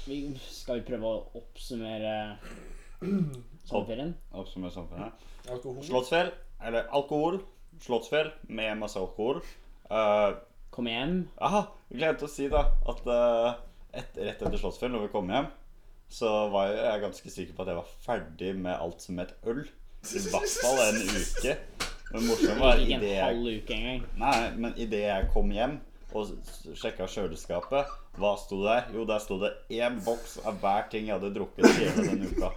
[SPEAKER 2] Vi skal vi prøve å oppsummere sommerferien?
[SPEAKER 1] Oppsummer samfunnet.
[SPEAKER 3] Alkohol.
[SPEAKER 1] Slottsfjell, eller alkohol. Slottsfjell med masse alkohol. Eh,
[SPEAKER 2] Komme hjem?
[SPEAKER 1] Aha, vi glemte å si da at eh, et, rett etter Slottsfjell, når vi kom hjem, så var jeg, jeg ganske sikker på at jeg var ferdig med alt som het øl. I hvert fall en uke. Men morsomt var
[SPEAKER 2] Ikke en
[SPEAKER 1] idet jeg,
[SPEAKER 2] halv uke engang.
[SPEAKER 1] nei, men i det jeg kom hjem og sjekka kjøleskapet, hva sto der? Jo, der sto det én boks av hver ting jeg hadde drukket hele den uka.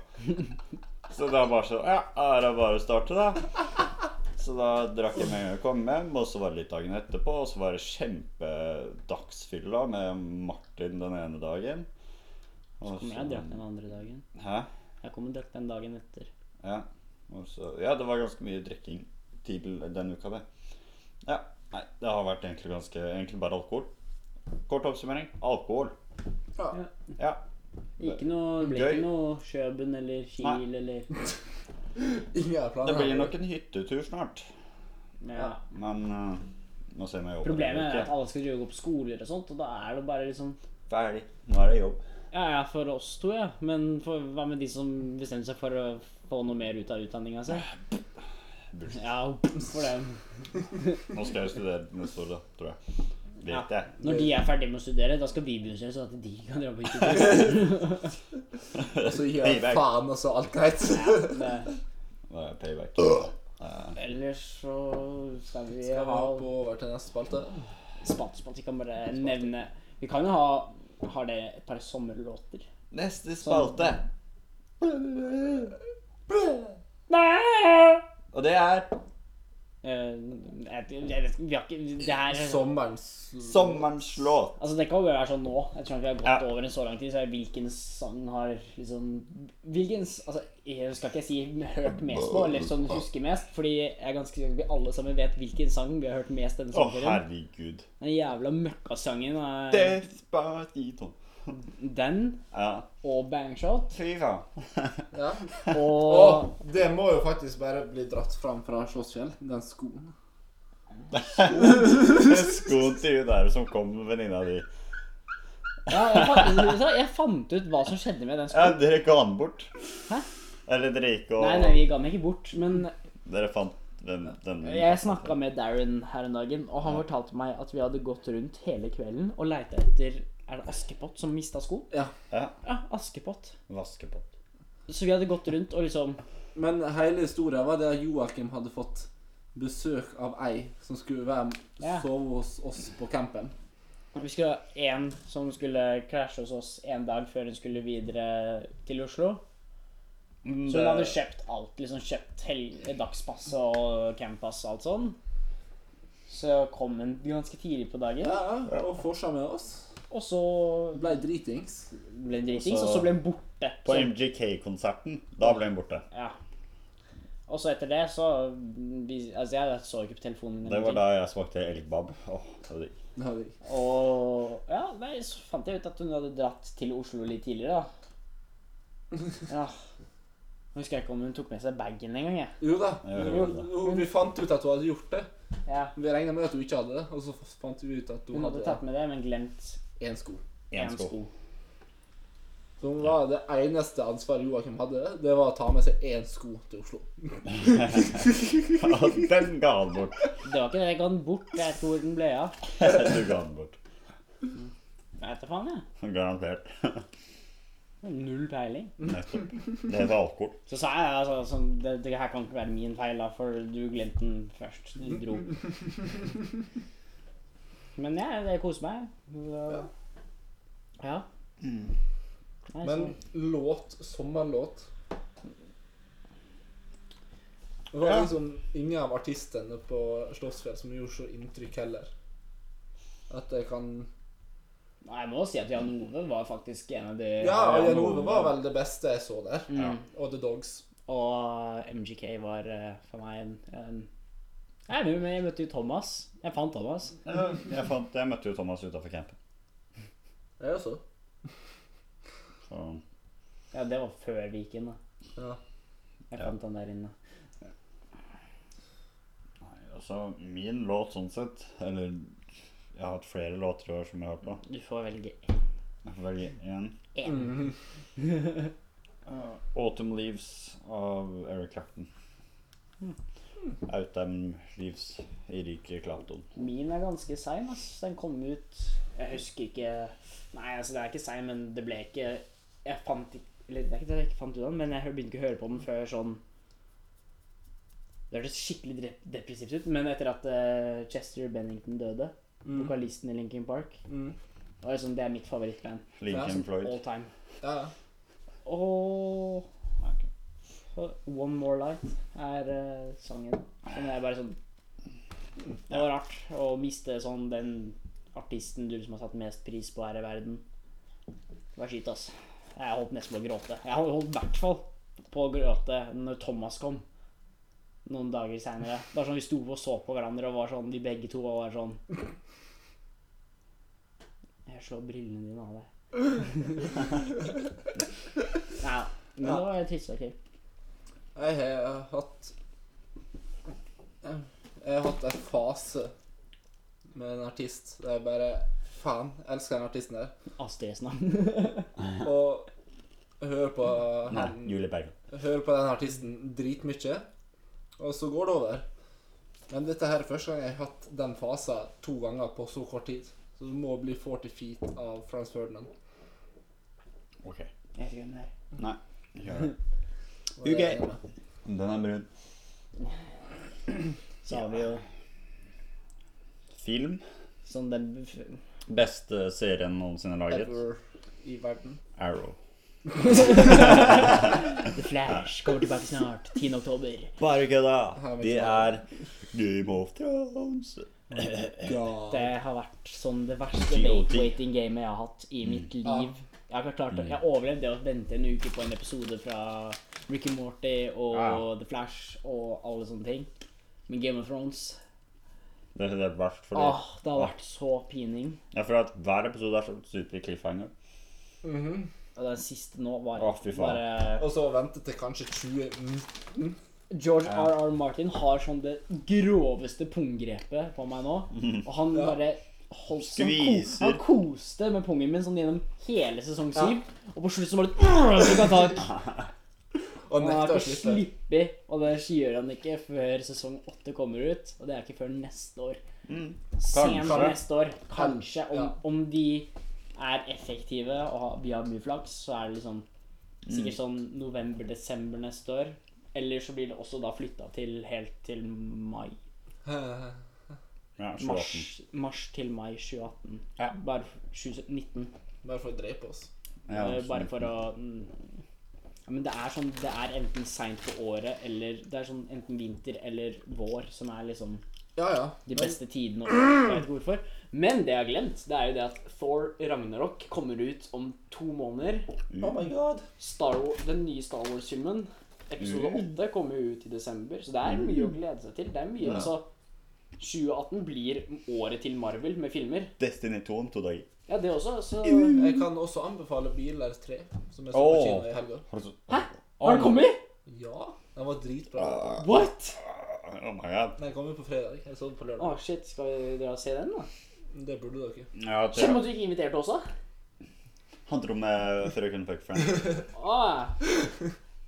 [SPEAKER 1] Så det var bare sånn Ja, her er det bare å starte, da. Så da drakk jeg med en gang jeg kom hjem, og så var det litt dagen etterpå. Og så var det kjempedagsfylla med Martin den ene dagen. Og
[SPEAKER 2] Kom jeg drakk den andre dagen.
[SPEAKER 1] Hæ?
[SPEAKER 2] Jeg kom og drakk den dagen etter.
[SPEAKER 1] Ja. Og så, ja, det var ganske mye drikking til den uka, det. Ja. Nei, det har vært egentlig ganske Egentlig bare alkohol. Kort oppsummering. Alkohol.
[SPEAKER 3] Ja.
[SPEAKER 1] Ja.
[SPEAKER 2] Ikke noe, det ble
[SPEAKER 1] Gøy.
[SPEAKER 2] ikke noe Kjøben eller Kiel eller
[SPEAKER 3] Ingen har planer.
[SPEAKER 1] Det blir nok en hyttetur snart.
[SPEAKER 2] ja.
[SPEAKER 1] Men eh, nå ser vi jo
[SPEAKER 2] Problemet er at alle skal drive og gå på skoler og sånt, og da er det bare liksom
[SPEAKER 1] Ferdig. Nå er det jobb.
[SPEAKER 2] Ja ja, for oss to, ja. Men for, hva med de som bestemmer seg for å få noe mer ut av utdanninga si? Ja, for dem.
[SPEAKER 1] Nå skal jeg studere neste år, da, tror jeg. Vet jeg.
[SPEAKER 2] Når de er ferdige med å studere, da skal vi begynne å studere, sånn at de kan dra på hyttetur.
[SPEAKER 3] Så gir
[SPEAKER 1] jeg Payback.
[SPEAKER 3] faen, og så alt greit.
[SPEAKER 2] Det-
[SPEAKER 1] Da er payback. Eh,
[SPEAKER 2] Ellers så skal vi
[SPEAKER 3] Skal vi
[SPEAKER 2] ha
[SPEAKER 3] hoppe over til neste spalte?
[SPEAKER 2] Spalte, spalte. Vi kan bare nevne Vi kan jo ha Har det et par sommerlåter?
[SPEAKER 1] Neste spalte. Og det er
[SPEAKER 2] Eh, jeg, jeg, vet- vi har ikke Det her
[SPEAKER 3] Sommerens
[SPEAKER 1] sommerens låt.
[SPEAKER 2] Altså Det kan jo være sånn nå, ettersom vi har gått
[SPEAKER 1] Ja.
[SPEAKER 2] over en så lang tid. Så er hvilken sang har liksom Hvilken s- Altså, jeg skal ikke si hørt mest på, eller som husker mest, fordi jeg er ganske sikker på at vi alle sammen vet hvilken sang vi har hørt mest denne
[SPEAKER 1] Å,
[SPEAKER 2] sommerferien.
[SPEAKER 1] herregud.
[SPEAKER 2] Den jævla møkkasangen. er-
[SPEAKER 1] Despacito.
[SPEAKER 2] Den
[SPEAKER 1] Ja.
[SPEAKER 2] og Bangshot
[SPEAKER 1] Fy faen.
[SPEAKER 3] Ja.
[SPEAKER 2] og
[SPEAKER 3] Og det må jo faktisk bare bli dratt fram fra Slottsfjell, den skoen.
[SPEAKER 1] Skoen til hun der som kom med venninna di.
[SPEAKER 2] ja, jeg, fant, jeg fant ut hva som skjedde med den
[SPEAKER 1] Ja,
[SPEAKER 2] skoen.
[SPEAKER 1] dere ga den bort.
[SPEAKER 2] Hæ?
[SPEAKER 1] Eller dere gikk og
[SPEAKER 2] Nei, nei, vi ga den ikke bort, men
[SPEAKER 1] Dere fant den, den
[SPEAKER 2] Jeg snakka med Darren her en dagen, og han fortalte meg at vi hadde gått rundt hele kvelden og leita etter Er det Askepott som mista sko?
[SPEAKER 3] Ja.
[SPEAKER 1] Ja.
[SPEAKER 2] Ja, Askepott.
[SPEAKER 1] Vaskepott.
[SPEAKER 2] Så vi hadde gått rundt og liksom
[SPEAKER 3] Men hele historien var det at Joakim hadde fått besøk av ei som skulle være
[SPEAKER 2] Ja.
[SPEAKER 3] sove hos oss på campen.
[SPEAKER 2] Jeg husker det var en som skulle krasje hos oss en dag før hun skulle videre til Oslo.
[SPEAKER 1] Mm,
[SPEAKER 2] Så hun hadde kjøpt alt. liksom Kjøpt hel- dagspass og campass og alt sånn. Så kom hun ganske tidlig på dagen,
[SPEAKER 3] Ja, ja, og forsa med oss.
[SPEAKER 2] og så
[SPEAKER 3] Ble dritings.
[SPEAKER 2] ble hun dritings,
[SPEAKER 1] Så-
[SPEAKER 2] og så ble hun borte.
[SPEAKER 1] På
[SPEAKER 2] Så-
[SPEAKER 1] MGK-konserten. Da ble hun borte.
[SPEAKER 2] ja. Og så etter det, så vi, Altså, jeg så ikke på telefonen min.
[SPEAKER 1] Det
[SPEAKER 2] eller
[SPEAKER 1] var
[SPEAKER 2] noe.
[SPEAKER 1] da jeg smakte elgbab. Åh, det var digg.
[SPEAKER 3] Det hadde jeg.
[SPEAKER 2] Og ja, nei, så fant jeg ut at hun hadde dratt til Oslo litt tidligere, da. Ja. Nå husker jeg ikke om hun tok med seg bagen engang, jeg.
[SPEAKER 3] Jo da.
[SPEAKER 1] Ja, det
[SPEAKER 3] jo,
[SPEAKER 1] var det.
[SPEAKER 3] jo, vi fant ut at hun hadde gjort det.
[SPEAKER 2] Ja.
[SPEAKER 3] Vi regna med at hun ikke hadde det, og så fant vi ut at
[SPEAKER 2] Hun
[SPEAKER 3] hun
[SPEAKER 2] hadde tatt
[SPEAKER 3] hadde
[SPEAKER 2] med det, men glemt
[SPEAKER 3] én sko.
[SPEAKER 1] én sko.
[SPEAKER 3] Så hun var det eneste ansvaret Joakim hadde, det var å ta med seg én sko til Oslo.
[SPEAKER 1] Ja, den ga han bort.
[SPEAKER 2] Det var ikke det jeg ga den bort. Jeg tror den ble av.
[SPEAKER 1] Du ga han bort.
[SPEAKER 2] Jeg vet da faen, jeg.
[SPEAKER 1] Garantert.
[SPEAKER 2] Null peiling.
[SPEAKER 1] Nettopp. Det heter alkohol.
[SPEAKER 2] Så sa jeg altså, sånn, det, det her kan ikke være min feil, da, for du glemte den først. Du dro. Men ja, det koser meg. Så- Ja. Nei, så,
[SPEAKER 3] Men låt, sommerlåt Det var
[SPEAKER 1] Ja.
[SPEAKER 3] liksom ingen av artistene på Slottsfjell som gjorde så inntrykk heller. At jeg kan
[SPEAKER 2] nei, jeg må si at Jan Ove var faktisk en av de
[SPEAKER 3] Ja,
[SPEAKER 1] Ja,
[SPEAKER 3] Jan
[SPEAKER 1] nå-
[SPEAKER 3] Ove var vel det beste jeg så der.
[SPEAKER 2] Mm.
[SPEAKER 1] Ja.
[SPEAKER 3] Og The Dogs.
[SPEAKER 2] Og MGK var eh, for meg en, en Nei, men Jeg møtte jo Thomas. Jeg fant Thomas.
[SPEAKER 1] Eh, Jeg, fant, jeg møtte jo Thomas utafor campen.
[SPEAKER 3] Jeg også.
[SPEAKER 1] Så
[SPEAKER 2] Ja, Det var før vi gikk inn. da.
[SPEAKER 3] Ja.
[SPEAKER 2] Jeg
[SPEAKER 1] Ja.
[SPEAKER 2] fant han der inne.
[SPEAKER 1] Nei, altså, min låt sånn sett Eller jeg har hatt flere låter i år som jeg har hørt på.
[SPEAKER 2] Du får velge
[SPEAKER 1] Jeg får velge én.
[SPEAKER 2] én.
[SPEAKER 3] Mhm.
[SPEAKER 1] Eh, 'Autumn Leaves' av Eric Clapton. Autumn Leaves i riket Clapton.
[SPEAKER 2] Min er ganske sein, ass. Den kom ut Jeg husker ikke Nei, altså, det er ikke sein, men det ble ikke Jeg fant ikke Eller det er ikke det jeg ikke fant ut av den, men jeg hør- begynte ikke å høre på den før sånn Det hørtes skikkelig dep depressivt ut, men etter at eh, Chester Bennington døde,
[SPEAKER 3] Mm.
[SPEAKER 2] vokalisten i Linkin Park
[SPEAKER 3] Mm.
[SPEAKER 2] det var liksom, Det er mitt favorittband
[SPEAKER 1] Lincoln Floyd.
[SPEAKER 2] all time.
[SPEAKER 3] Ja. ja.
[SPEAKER 2] Og så One More Light er eh, sangen. Som er bare sånn Det var rart å miste sånn den artisten du som har satt mest pris på her i verden. Det var skitt, ass. Jeg holdt nesten på å gråte. Jeg holdt- holdt i hvert fall på å gråte når Thomas kom. Noen dager seinere. Bare sånn vi sto og så på hverandre og var sånn, vi begge to og var sånn Jeg slår brillene dine av deg. Ja, men det var tidsaktiv.
[SPEAKER 3] Jeg har hatt Jeg har hatt en fase med en artist der jeg bare Faen, jeg elsker den artisten der.
[SPEAKER 2] Astrid Snam.
[SPEAKER 3] Og hører på
[SPEAKER 1] Nei,
[SPEAKER 3] han-
[SPEAKER 1] Julie Bergen.
[SPEAKER 3] hører på den artisten dritmye, og så går det over. Men dette her er første gang jeg har hatt den fasen to ganger på så kort tid. Så det må bli 40 feet av Frans Ferdinand.
[SPEAKER 1] Ok.
[SPEAKER 2] Jeg vet ikke hvem det er.
[SPEAKER 1] Nei. Gjør det.
[SPEAKER 3] Og det er
[SPEAKER 1] Ok.
[SPEAKER 3] jeg med.
[SPEAKER 1] Den er brun.
[SPEAKER 2] Så har vi jo
[SPEAKER 1] Film.
[SPEAKER 2] sånn den
[SPEAKER 1] Beste serien noensinne laget.
[SPEAKER 3] Ever i verden.
[SPEAKER 1] Arrow.
[SPEAKER 2] The Flash kommer tilbake snart. 10. oktober.
[SPEAKER 1] Bare kødda!
[SPEAKER 3] Her er
[SPEAKER 1] De
[SPEAKER 3] ikke
[SPEAKER 1] er Game of Thrones.
[SPEAKER 2] Det har vært sånn det verste
[SPEAKER 1] GOT.
[SPEAKER 2] waiting gamet jeg har hatt
[SPEAKER 1] Mm.
[SPEAKER 2] i mitt liv. Jeg har ikke klart det. Jeg har overlevd det å vente en uke på en episode fra Rick and Morty og
[SPEAKER 1] Ja.
[SPEAKER 2] The Flash og alle sånne ting. Men Game of Thrones
[SPEAKER 1] Det er det verst for dem.
[SPEAKER 2] Åh, Det har vært så pining.
[SPEAKER 1] Jeg føler at hver episode er så super cliffhanger.
[SPEAKER 3] Mhm.
[SPEAKER 2] Og den siste nå var
[SPEAKER 1] Åh, fy faen.
[SPEAKER 2] bare
[SPEAKER 3] Og så vente til kanskje 20 minutter.
[SPEAKER 2] George R.R. Martin har sånn det groveste punggrepet på meg nå. Og han
[SPEAKER 3] Ja.
[SPEAKER 2] bare holdt sånn
[SPEAKER 1] Skviser.
[SPEAKER 2] Han koste med pungen min sånn gjennom hele sesong syv. Og på slutt så bare øh, Så kan han ta et
[SPEAKER 3] Og
[SPEAKER 2] Han har
[SPEAKER 3] nekter å
[SPEAKER 2] ikke
[SPEAKER 3] slippe.
[SPEAKER 2] slippet, og det gjør han ikke før sesong åtte kommer ut. Og det er ikke før neste år.
[SPEAKER 1] Mm.
[SPEAKER 2] Sent
[SPEAKER 1] Kanskje.
[SPEAKER 2] neste år. Kanskje. Om,
[SPEAKER 3] Ja.
[SPEAKER 2] om de er effektive og har- vi har mye flaks, så er det liksom sikkert
[SPEAKER 1] Mm.
[SPEAKER 2] sånn november-desember neste år. Eller så blir det også da flytta til helt til mai.
[SPEAKER 1] Ja, 2018.
[SPEAKER 2] Mars, mars til mai 2018.
[SPEAKER 1] Ja.
[SPEAKER 2] Bare f- 2019.
[SPEAKER 4] Bare for å drepe oss.
[SPEAKER 1] Ja, sånn.
[SPEAKER 2] Eh, bare
[SPEAKER 1] 2019.
[SPEAKER 2] for å mm, ja, Men det er sånn Det er enten seint på året eller Det er sånn enten vinter eller vår som er liksom
[SPEAKER 4] Ja, ja.
[SPEAKER 2] de
[SPEAKER 4] Men-
[SPEAKER 2] beste tidene. og Jeg vet ikke hvorfor. Men det jeg har glemt, det er jo det at Thor Ragnarok kommer ut om to måneder.
[SPEAKER 4] Oh my god.
[SPEAKER 2] Star War, den nye Star Wars-filmen, episode
[SPEAKER 1] Mm.
[SPEAKER 2] 8, kommer jo ut i desember. Så det er mye å glede seg til. Det er mye,
[SPEAKER 4] Ja.
[SPEAKER 2] altså 2018 blir året til Marvel med filmer.
[SPEAKER 1] Destiny 2 om to dager.
[SPEAKER 2] Ja, det også. Så
[SPEAKER 3] Mm.
[SPEAKER 4] Jeg kan også anbefale Biler 3, som jeg så på
[SPEAKER 1] Åh.
[SPEAKER 4] kino i helga.
[SPEAKER 1] Har du så-
[SPEAKER 2] har den kommet?
[SPEAKER 4] Ja, den var dritbra.
[SPEAKER 1] Ah.
[SPEAKER 2] What?
[SPEAKER 1] Oh my god.
[SPEAKER 4] Den kom jo på fredag. Jeg så den på
[SPEAKER 2] Å,
[SPEAKER 4] lørdag.
[SPEAKER 2] shit. Skal vi dra og se den, da?
[SPEAKER 4] Det burde dere.
[SPEAKER 1] Ja, det
[SPEAKER 2] Kjenn at du ikke inviterte også.
[SPEAKER 1] handler om eh, frøken Puckfriend.
[SPEAKER 2] Åh. Ah.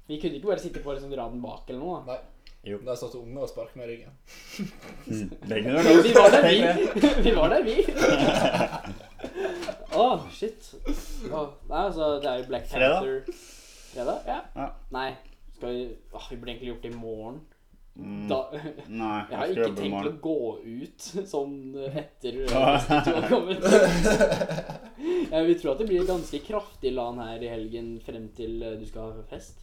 [SPEAKER 2] Vi kunne ikke bare sitte på liksom, raden bak eller noe. da.
[SPEAKER 4] Nei.
[SPEAKER 1] Jo.
[SPEAKER 4] Der satt unge og sparket meg i ryggen.
[SPEAKER 1] Det kunne du godt
[SPEAKER 2] Vi var der,
[SPEAKER 1] tenkt
[SPEAKER 2] vi. Vi var der, vi. Å, shit. Åh, Nei, altså, det er jo Black
[SPEAKER 1] Fredag?
[SPEAKER 2] Panther Fredag? Ja.
[SPEAKER 1] Ja.
[SPEAKER 2] Nei, skal vi Åh, Vi burde egentlig gjort det i morgen.
[SPEAKER 1] Mm,
[SPEAKER 2] Da
[SPEAKER 1] Nei,
[SPEAKER 2] Jeg har
[SPEAKER 1] skal
[SPEAKER 2] ikke
[SPEAKER 1] jobbe i
[SPEAKER 2] tenkt å
[SPEAKER 1] morgen.
[SPEAKER 2] gå ut sånn eh, etter
[SPEAKER 1] Ah.
[SPEAKER 2] at du har kommet. Jeg vil tro at det blir ganske kraftig LAN her i helgen frem til eh, du skal ha fest.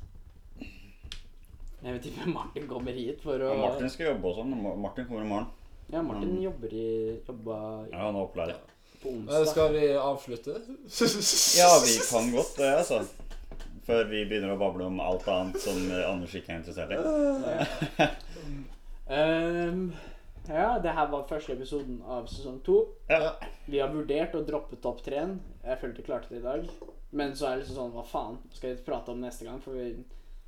[SPEAKER 2] Jeg vet ikke om Martin kommer hit for å
[SPEAKER 1] Men Martin skal jobbe og sånn. Ma- Martin kommer i morgen.
[SPEAKER 2] Ja, Martin jobber i jobba
[SPEAKER 1] Ja, han er opplært.
[SPEAKER 2] på
[SPEAKER 4] Eh,
[SPEAKER 2] onsdag.
[SPEAKER 4] Skal vi avslutte?
[SPEAKER 1] Ja, vi kan godt det, altså. Før vi begynner å bable om alt annet som eh, Anders ikke er interessert i.
[SPEAKER 2] Ehm, ja, det her var første episoden av sesong to.
[SPEAKER 1] Ja.
[SPEAKER 2] Vi har vurdert å droppe topp treen. Jeg følte jeg klarte det i dag. Men så er det liksom sånn, hva faen skal vi prate om neste gang? For vi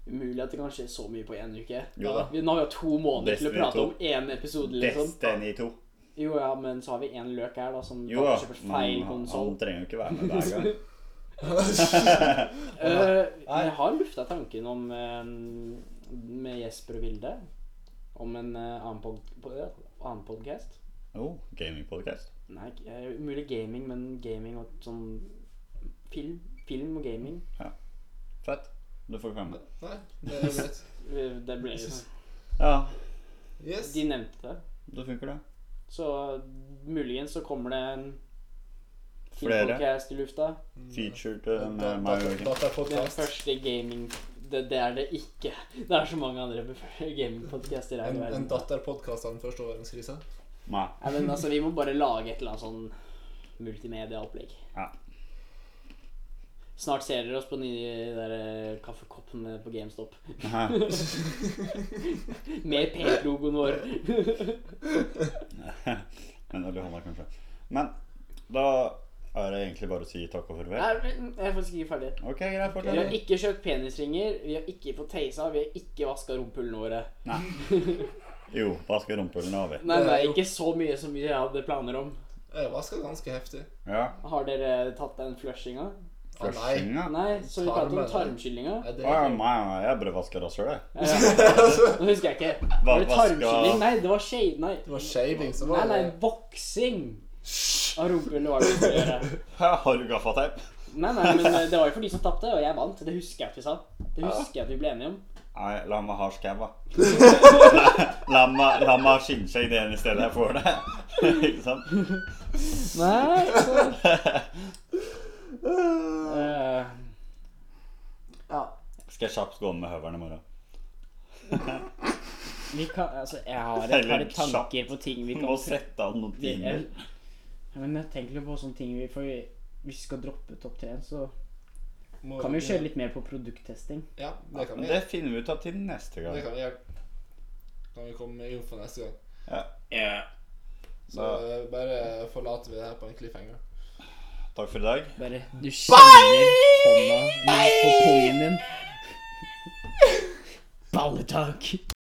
[SPEAKER 2] umulig at det kan skje så mye på én uke.
[SPEAKER 1] Jo da.
[SPEAKER 2] Vi, nå har vi jo to måneder til å
[SPEAKER 1] Destiny
[SPEAKER 2] prate
[SPEAKER 1] to.
[SPEAKER 2] om én episode, liksom.
[SPEAKER 1] Destiny 2.
[SPEAKER 2] Jo ja, men så har vi én løk her, da, som
[SPEAKER 1] Jo Mm, da.
[SPEAKER 2] kanskje kjøper feil
[SPEAKER 1] men han-
[SPEAKER 2] konsoll.
[SPEAKER 1] Han trenger jo ikke være med hver gang.
[SPEAKER 2] jeg Eh, har lufta tanken om eh, med Jesper og Vilde om en eh, annen, pod po- ja, annen podcast.
[SPEAKER 1] Oh, gamingpodcast.
[SPEAKER 2] Nei, ikke- eh, mulig gaming, men gaming og sånn film. Film og gaming.
[SPEAKER 1] Fett. Du får komme.
[SPEAKER 4] Nei, det er greit.
[SPEAKER 2] Eh, Det ble
[SPEAKER 1] Ja,
[SPEAKER 4] Yes.
[SPEAKER 2] De nevnte det.
[SPEAKER 1] det funker, det.
[SPEAKER 2] Så muligens så kommer det en
[SPEAKER 1] Flere.
[SPEAKER 2] filmpodcast i lufta.
[SPEAKER 1] Featured eh, med meg og
[SPEAKER 2] Det
[SPEAKER 1] Joakim.
[SPEAKER 2] er den
[SPEAKER 4] Datapodkast.
[SPEAKER 2] første gaming... Det, det er det ikke. Det er så mange andre gamingpodcaster her i
[SPEAKER 4] En, en
[SPEAKER 2] verden.
[SPEAKER 4] datterpodkast av den første overgangskrisa.
[SPEAKER 1] Nei.
[SPEAKER 2] Nei, men altså, vi må bare lage et eller annet sånn multimediaopplegg.
[SPEAKER 1] Ja.
[SPEAKER 2] Snart ser dere oss på den nye der eh, kaffekoppen eh, på GameStop. Med P-logoen vår.
[SPEAKER 1] Men eller han er kanskje. Men da er det egentlig bare å si takk og farvel.
[SPEAKER 2] Nei, men jeg er faktisk ikke ferdig.
[SPEAKER 1] Ok, greit.
[SPEAKER 2] Vi har
[SPEAKER 1] Fortell.
[SPEAKER 2] ikke kjøpt penisringer, vi har ikke fått teisa, vi har ikke vaska rumpullene våre.
[SPEAKER 1] Jo, vaske rumpullene av, vi.
[SPEAKER 2] Nei,
[SPEAKER 4] Det er
[SPEAKER 2] nei,
[SPEAKER 4] jo-
[SPEAKER 2] ikke så mye som vi hadde planer om.
[SPEAKER 4] Jeg vaska ganske heftig.
[SPEAKER 1] Ja.
[SPEAKER 2] Har dere tatt den flushinga?
[SPEAKER 4] Å nei.
[SPEAKER 1] Flushinga. Å
[SPEAKER 2] Nei, så vi pratet om
[SPEAKER 4] Tarmen.
[SPEAKER 2] tarmskyllinga.
[SPEAKER 4] Er det
[SPEAKER 1] ja, nei, nei, jeg bare vasker rasshølet.
[SPEAKER 2] Ja, ja. Nå husker jeg ikke.
[SPEAKER 1] Hva-
[SPEAKER 2] Var det
[SPEAKER 1] hva skal-
[SPEAKER 2] tarmskylling? Nei, det var shade... Nei.
[SPEAKER 4] Det var shaving som
[SPEAKER 2] Nei,
[SPEAKER 4] var
[SPEAKER 2] nei, boksing av rumpehullet var det vi skulle gjøre.
[SPEAKER 1] Har du gaffateip?
[SPEAKER 2] Nei, nei, men eh, det var jo for de som tapte, og jeg vant. Det husker jeg at vi sa. Det husker jeg at vi ble enige om.
[SPEAKER 1] Nei, la meg ha skaua. La meg la meg ha skinnskjegg det ene stedet jeg får det. Ikke sant?
[SPEAKER 2] Nei, så... Eh, ja.
[SPEAKER 1] Skal jeg kjapt gå om med høvelen i morgen?
[SPEAKER 2] Vi kan, altså, jeg har et
[SPEAKER 1] Eller
[SPEAKER 2] par tanker
[SPEAKER 1] kjapt.
[SPEAKER 2] på ting vi
[SPEAKER 1] Vi
[SPEAKER 2] kan
[SPEAKER 1] må sette av noen
[SPEAKER 2] vi, jeg,
[SPEAKER 1] timer.
[SPEAKER 2] Ja, Men jeg tenker litt på sånne ting vi For hvis vi skal droppe topp tre, så
[SPEAKER 4] Må-
[SPEAKER 2] kan vi jo kjøre litt mer på produkttesting.
[SPEAKER 4] Ja, det kan vi
[SPEAKER 1] Det
[SPEAKER 4] gjøre.
[SPEAKER 1] finner vi ut av til
[SPEAKER 4] Det
[SPEAKER 1] neste gang.
[SPEAKER 4] kan vi gjøre. Kan vi komme med info neste gang. Så
[SPEAKER 1] Så
[SPEAKER 4] eh, bare forlater vi det her på en cliffhanger.
[SPEAKER 1] takk for i dag.
[SPEAKER 2] Bare du kjenner hånda ned på pungen din. Balletak.